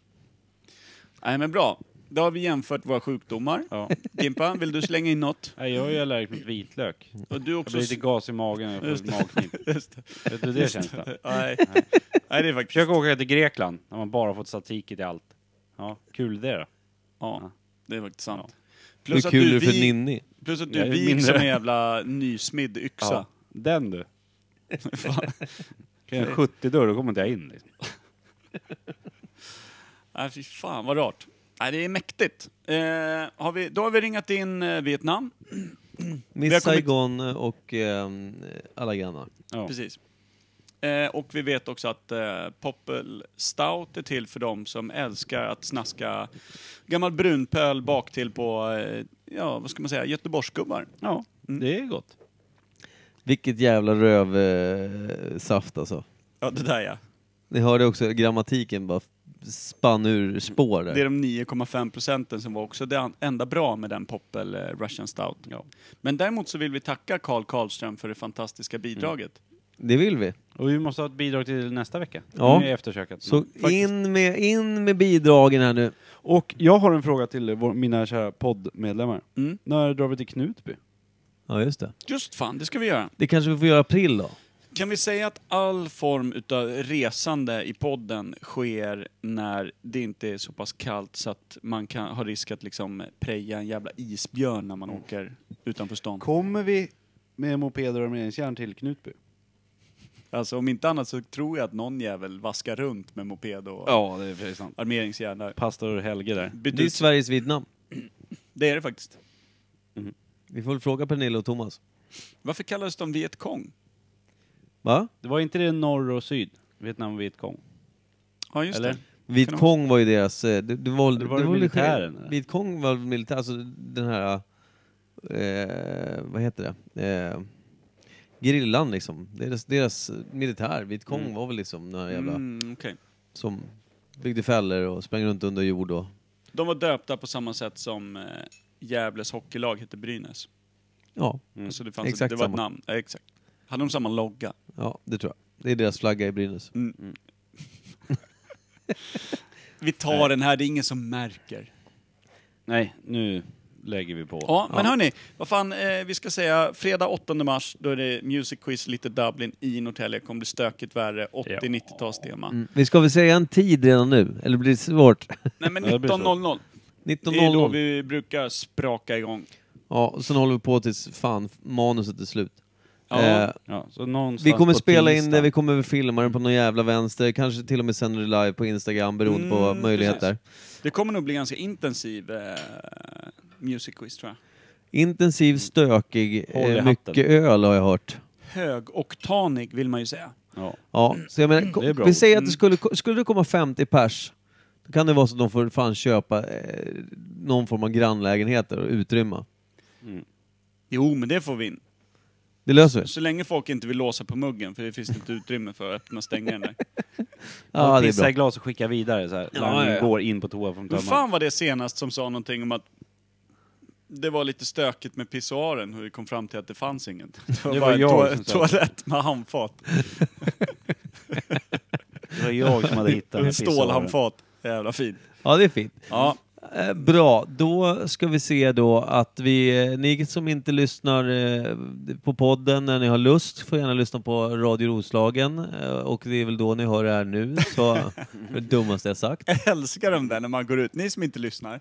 Speaker 1: Nej men bra. Då har vi jämfört våra sjukdomar.
Speaker 2: Ja.
Speaker 1: Gimpa, vill du slänga in något?
Speaker 2: Nej, jag är ju allergisk mot vitlök.
Speaker 1: Och du
Speaker 2: Jag
Speaker 1: också...
Speaker 2: blir lite gas i magen när jag
Speaker 1: Just
Speaker 2: får magknip.
Speaker 1: Just det.
Speaker 2: Vet du hur det känns då?
Speaker 1: Nej. Nej, det är faktiskt...
Speaker 2: Försök åka till Grekland, när man bara fått satiki till allt. Ja, kul det då.
Speaker 1: Ja, det är faktiskt sant.
Speaker 3: Hur
Speaker 1: Plus, att
Speaker 3: kul är
Speaker 1: du
Speaker 3: det för
Speaker 1: vik,
Speaker 3: Ninni?
Speaker 1: plus att
Speaker 2: Jag
Speaker 1: du
Speaker 2: är
Speaker 1: viks
Speaker 2: mindre.
Speaker 1: som en jävla nysmidd yxa.
Speaker 2: Ja. Den du.
Speaker 1: Fan.
Speaker 2: Kan jag 70 dörr, då kommer inte jag in. Liksom.
Speaker 1: Nej, fy fan vad rart. Nej, det är mäktigt. Eh, har vi, då har vi ringat in eh, Vietnam. Vi har
Speaker 3: Miss
Speaker 1: kommit-
Speaker 3: Saigon och ehm, alla grannar.
Speaker 2: Ja.
Speaker 1: Precis. Eh, och vi vet också att eh, Poppel Stout är till för de som älskar att snaska gammal brunpöl bak till på, eh, ja vad ska man säga, Göteborgsgubbar.
Speaker 2: ja, det är gott.
Speaker 3: Vilket jävla rövsaft alltså.
Speaker 1: Ja, det där ja.
Speaker 3: Ni hörde också grammatiken bara spann ur spår där.
Speaker 1: Det är de 9,5 procenten som var också det an- enda bra med den Poppel eh, Russian Stout. Men däremot så vill vi tacka Carl Karlström för det fantastiska
Speaker 3: Mm.
Speaker 1: bidraget.
Speaker 3: Det vill vi.
Speaker 2: Och vi måste ha ett bidrag till nästa vecka.
Speaker 3: Ja.
Speaker 2: Nu är eftersöket.
Speaker 1: Mm,
Speaker 3: Så in med, in med bidragen här nu.
Speaker 2: Och jag har en fråga till vår, mina kära poddmedlemmar.
Speaker 1: Mm.
Speaker 2: När drar vi till Knutby?
Speaker 3: Ja, just det.
Speaker 1: Just fan, det ska vi göra.
Speaker 3: Det kanske vi får göra i april då?
Speaker 1: Kan vi säga att all form utav resande i podden sker när det inte är så pass kallt så att man kan ha risk att liksom preja en jävla isbjörn när man
Speaker 3: Mm.
Speaker 1: åker utanför stan?
Speaker 2: Kommer vi med mopeder och armeringsjärn till Knutby?
Speaker 1: Alltså om inte annat så tror jag att någon jävel vaskar runt med moped och
Speaker 2: Ja, det är precis sant.
Speaker 1: armeringsjärn där.
Speaker 2: Pastor Helge där.
Speaker 3: Det är
Speaker 1: Bedus-
Speaker 3: Sveriges Vietnam.
Speaker 1: det är det faktiskt.
Speaker 3: Vi får väl fråga Pernilla och Thomas.
Speaker 1: Varför kallades de Vietkong?
Speaker 3: Va?
Speaker 2: Det var inte det norr och syd? Vietnam och Vietkong.
Speaker 1: Ja, just
Speaker 2: Eller?
Speaker 1: det.
Speaker 3: Vit Kong var ju deras... eh, Det, det var,
Speaker 2: det var
Speaker 3: väl-
Speaker 2: militären, eller?
Speaker 3: Vit Kong var väl militär, alltså den här... Eh, vad heter det? Eh, grillan liksom. Deras, deras militär, Vit Kong var väl liksom den här jävla...
Speaker 1: Mm, okej.
Speaker 3: Som byggde fällor och sprang runt under jord och...
Speaker 1: De var döpta på samma sätt som eh, Gävles hockeylag hette Brynäs.
Speaker 3: Ja,
Speaker 1: Så det, fanns
Speaker 3: Exakt
Speaker 1: ett, det var
Speaker 3: samma.
Speaker 1: ett namn. Ja, exakt. Hade de samma logga?
Speaker 3: ja, det tror jag. Det är deras flagga i Brynäs.
Speaker 1: Mm. Vi tar den här, det är ingen som märker.
Speaker 2: Nej, nu lägger vi på.
Speaker 1: Ja, men hörni, vad fan, eh, vi ska säga fredag 8 mars, då är det Music Quiz Little Dublin i Norrtälje. Kommer bli stökigt värre, 80-90-talstema.
Speaker 3: Mm. Vi ska väl säga en tid redan nu, eller blir det svårt?
Speaker 1: Nej men
Speaker 2: Ja, det blir så.
Speaker 1: 19.00, det är då
Speaker 3: 19.00.
Speaker 1: vi brukar spraka igång.
Speaker 3: Ja, och sen håller vi på tills fan manuset är slut.
Speaker 1: Ja.
Speaker 3: Eh,
Speaker 2: Ja, så någonstans
Speaker 3: vi kommer
Speaker 2: på
Speaker 3: spela in
Speaker 2: tisdag.
Speaker 3: det, vi kommer filma det på någon jävla vänster, kanske till och med sänder det live på Instagram beroende på
Speaker 1: Mm,
Speaker 3: möjligheter.
Speaker 1: Det kommer nog bli ganska intensiv eh, Music Quiz tror jag.
Speaker 3: Intensiv, stökig,
Speaker 2: Håll i
Speaker 3: eh,
Speaker 2: hatten.
Speaker 3: mycket öl har jag hört.
Speaker 1: Högoktanig vill man ju säga.
Speaker 2: Ja.
Speaker 3: Ja, så jag menar,
Speaker 2: Det är
Speaker 3: ko-
Speaker 2: bra
Speaker 3: vi
Speaker 2: ord.
Speaker 3: säger att
Speaker 1: Mm.
Speaker 3: det skulle, skulle det komma 50 pers, då kan det vara så att de får fan köpa eh, någon form av grannlägenheter och utrymma.
Speaker 1: Jo, men det får vi in.
Speaker 3: Det löser vi.
Speaker 1: Så länge folk inte vill låsa på muggen, för det finns inte utrymme för att öppna och stänga den där.
Speaker 3: Ja, det är
Speaker 2: pissa i
Speaker 3: bra.
Speaker 2: glas och skicka vidare så här.
Speaker 3: Ja,
Speaker 2: Langning
Speaker 3: ja, ja.
Speaker 2: går in på toa från
Speaker 1: Hur
Speaker 2: tömman.
Speaker 1: fan var det senast som sa någonting om att det var lite stökigt med pissoaren, hur vi kom fram till att det fanns inget. Det var
Speaker 2: Det var
Speaker 1: bara en
Speaker 2: jag
Speaker 1: toa-
Speaker 2: som sa
Speaker 1: toalett med handfat.
Speaker 2: Det var jag som hade hittat den här
Speaker 1: En
Speaker 2: pissoaren.
Speaker 1: stålhandfat. Jävla fin.
Speaker 3: Ja, det är fint.
Speaker 1: Ja,
Speaker 3: Eh, Bra, då ska vi se då att vi, eh, ni som inte lyssnar eh, på podden när ni har lust får gärna lyssna på Radio Roslagen eh, och det är väl då ni hör det här nu, så det dummaste jag sagt.
Speaker 1: jag älskar den där när man går ut. Ni som inte lyssnar,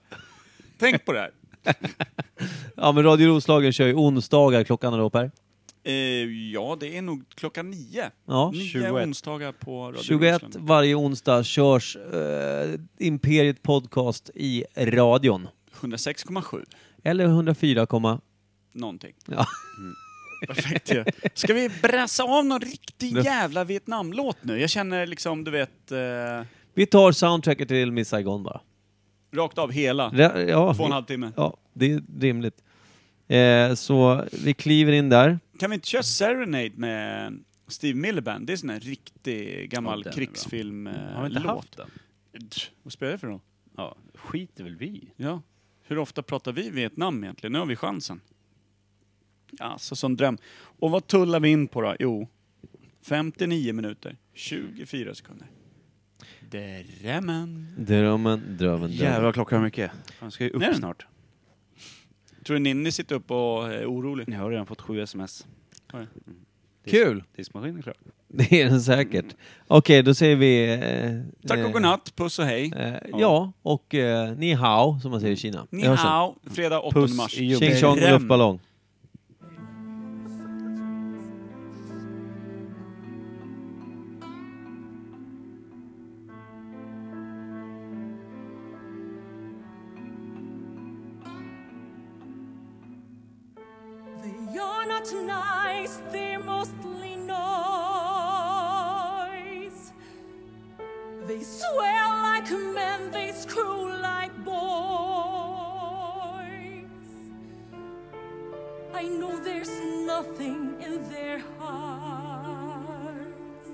Speaker 1: tänk på det här.
Speaker 3: Ja men Radio Roslagen kör ju onsdagar klockan då Per?
Speaker 1: Eh, ja, det är nog klockan nio.
Speaker 3: Ja.
Speaker 1: Nio
Speaker 2: 21.
Speaker 1: onsdagar på Radio
Speaker 3: 21
Speaker 1: Ryssland.
Speaker 3: varje onsdag körs eh, Imperiet Podcast i radion.
Speaker 1: 106,7
Speaker 3: Eller 104, komma-
Speaker 1: någonting. Mm.
Speaker 3: ja.
Speaker 1: Perfekt ju. Ska vi brassa av någon riktig
Speaker 3: Det-
Speaker 1: jävla Vietnamlåt nu? Jag känner liksom, du vet, eh,
Speaker 3: Vi tar soundtracket till Miss Saigon bara.
Speaker 1: rakt av hela.
Speaker 3: Re- ja,
Speaker 1: Två och en halv timme.
Speaker 3: Ja, det är rimligt. Eh, så vi kliver in där.
Speaker 1: Kan vi inte köra Serenade med Steve Milliband? Det är sån här riktig gammal
Speaker 2: Ja, den är bra.
Speaker 1: krigsfilm eh,
Speaker 2: Har vi inte
Speaker 1: låt.
Speaker 2: haft den?
Speaker 1: Tch, Vad spelar det för roll?
Speaker 2: Ja, skiter väl vi
Speaker 1: Ja. Hur ofta pratar vi Vietnam egentligen? Nu har vi chansen. Ja, så som dröm. Och vad tullar vi in på då? Jo, 59 minuter, 24 sekunder. Drämmen.
Speaker 3: Drömmen, drömmen, drömmen.
Speaker 2: Jävlar klockan är mycket. Han ska ju upp
Speaker 1: Nej, den-
Speaker 2: snart.
Speaker 1: Tror du Ninni sitter upp och eh, är orolig?
Speaker 2: Jag har redan fått sju sms. Mm.
Speaker 1: Oj.
Speaker 3: Kul!
Speaker 2: Diskmaskinen är klar.
Speaker 3: Det är den säkert. Okej, då säger vi... Eh,
Speaker 1: Tack och
Speaker 3: eh,
Speaker 1: godnatt, puss och hej.
Speaker 3: Eh, ja, och eh, ni hao, som man säger i Kina.
Speaker 1: Ni
Speaker 3: Vi hörs sen.
Speaker 1: hao, fredag 8
Speaker 2: Puss
Speaker 1: mars.
Speaker 2: i
Speaker 3: Tjing tjong
Speaker 1: Dröm.
Speaker 3: luftballong.
Speaker 6: They are not nice, they're mostly noise. They swear like men, they screw like boys. I know there's nothing in their hearts.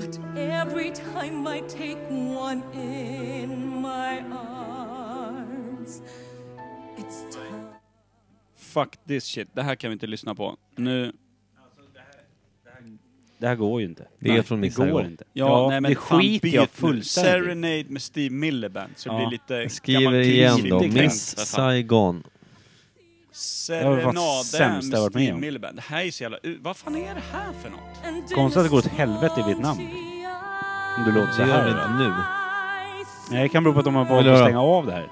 Speaker 6: But every time I take one in my arms, it's time.
Speaker 1: Fuck this shit, det här kan vi inte lyssna på. Nu,
Speaker 2: Det här går ju inte.
Speaker 3: Det är från Miss
Speaker 2: Det går
Speaker 3: Saigon.
Speaker 2: inte.
Speaker 1: ja, nej, men
Speaker 2: det
Speaker 1: fan,
Speaker 2: skiter
Speaker 1: byt
Speaker 2: jag
Speaker 1: nu.
Speaker 2: fullständigt i.
Speaker 1: Serenade med Steve Milliband, så det
Speaker 2: Ja.
Speaker 1: blir lite
Speaker 3: Jag skriver
Speaker 1: gammal
Speaker 3: igen då.
Speaker 1: krigsfilm.
Speaker 3: Miss
Speaker 1: För fan.
Speaker 3: Saigon.
Speaker 2: Det var
Speaker 1: Serenade
Speaker 2: fan sämst jag
Speaker 1: med
Speaker 2: varit med
Speaker 1: Steve
Speaker 2: om.
Speaker 1: Milliband. Det här är så jävla... Vad fan är det här för något?
Speaker 6: Konstigt att det går åt helvete i Vietnam.
Speaker 2: Om du låter så
Speaker 3: Det gör
Speaker 2: här.
Speaker 3: vi
Speaker 2: då.
Speaker 3: inte nu.
Speaker 2: Nej, det kan bero på att de har
Speaker 3: Vill
Speaker 2: valt
Speaker 3: du
Speaker 2: att
Speaker 3: höra?
Speaker 2: stänga av det här.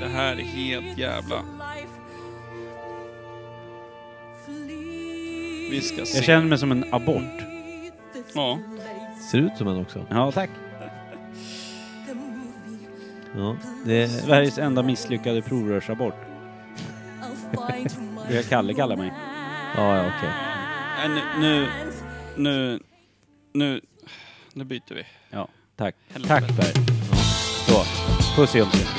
Speaker 1: Det här är helt jävla... Vi ska se.
Speaker 2: Jag känner mig som en abort.
Speaker 1: Ja.
Speaker 3: Ser ut som en också.
Speaker 2: Ja, tack.
Speaker 3: Ja, det,
Speaker 2: Sveriges enda misslyckade provrörsabort. Det är Kalle kallar mig.
Speaker 3: ja, ja okej.
Speaker 1: Nej, Äh, nu, nu, nu, nu, nu byter vi.
Speaker 2: Ja, tack.
Speaker 1: Helvete.
Speaker 2: Tack Per. Så, puss i ömsint.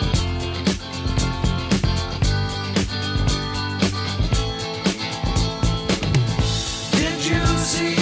Speaker 7: Did you see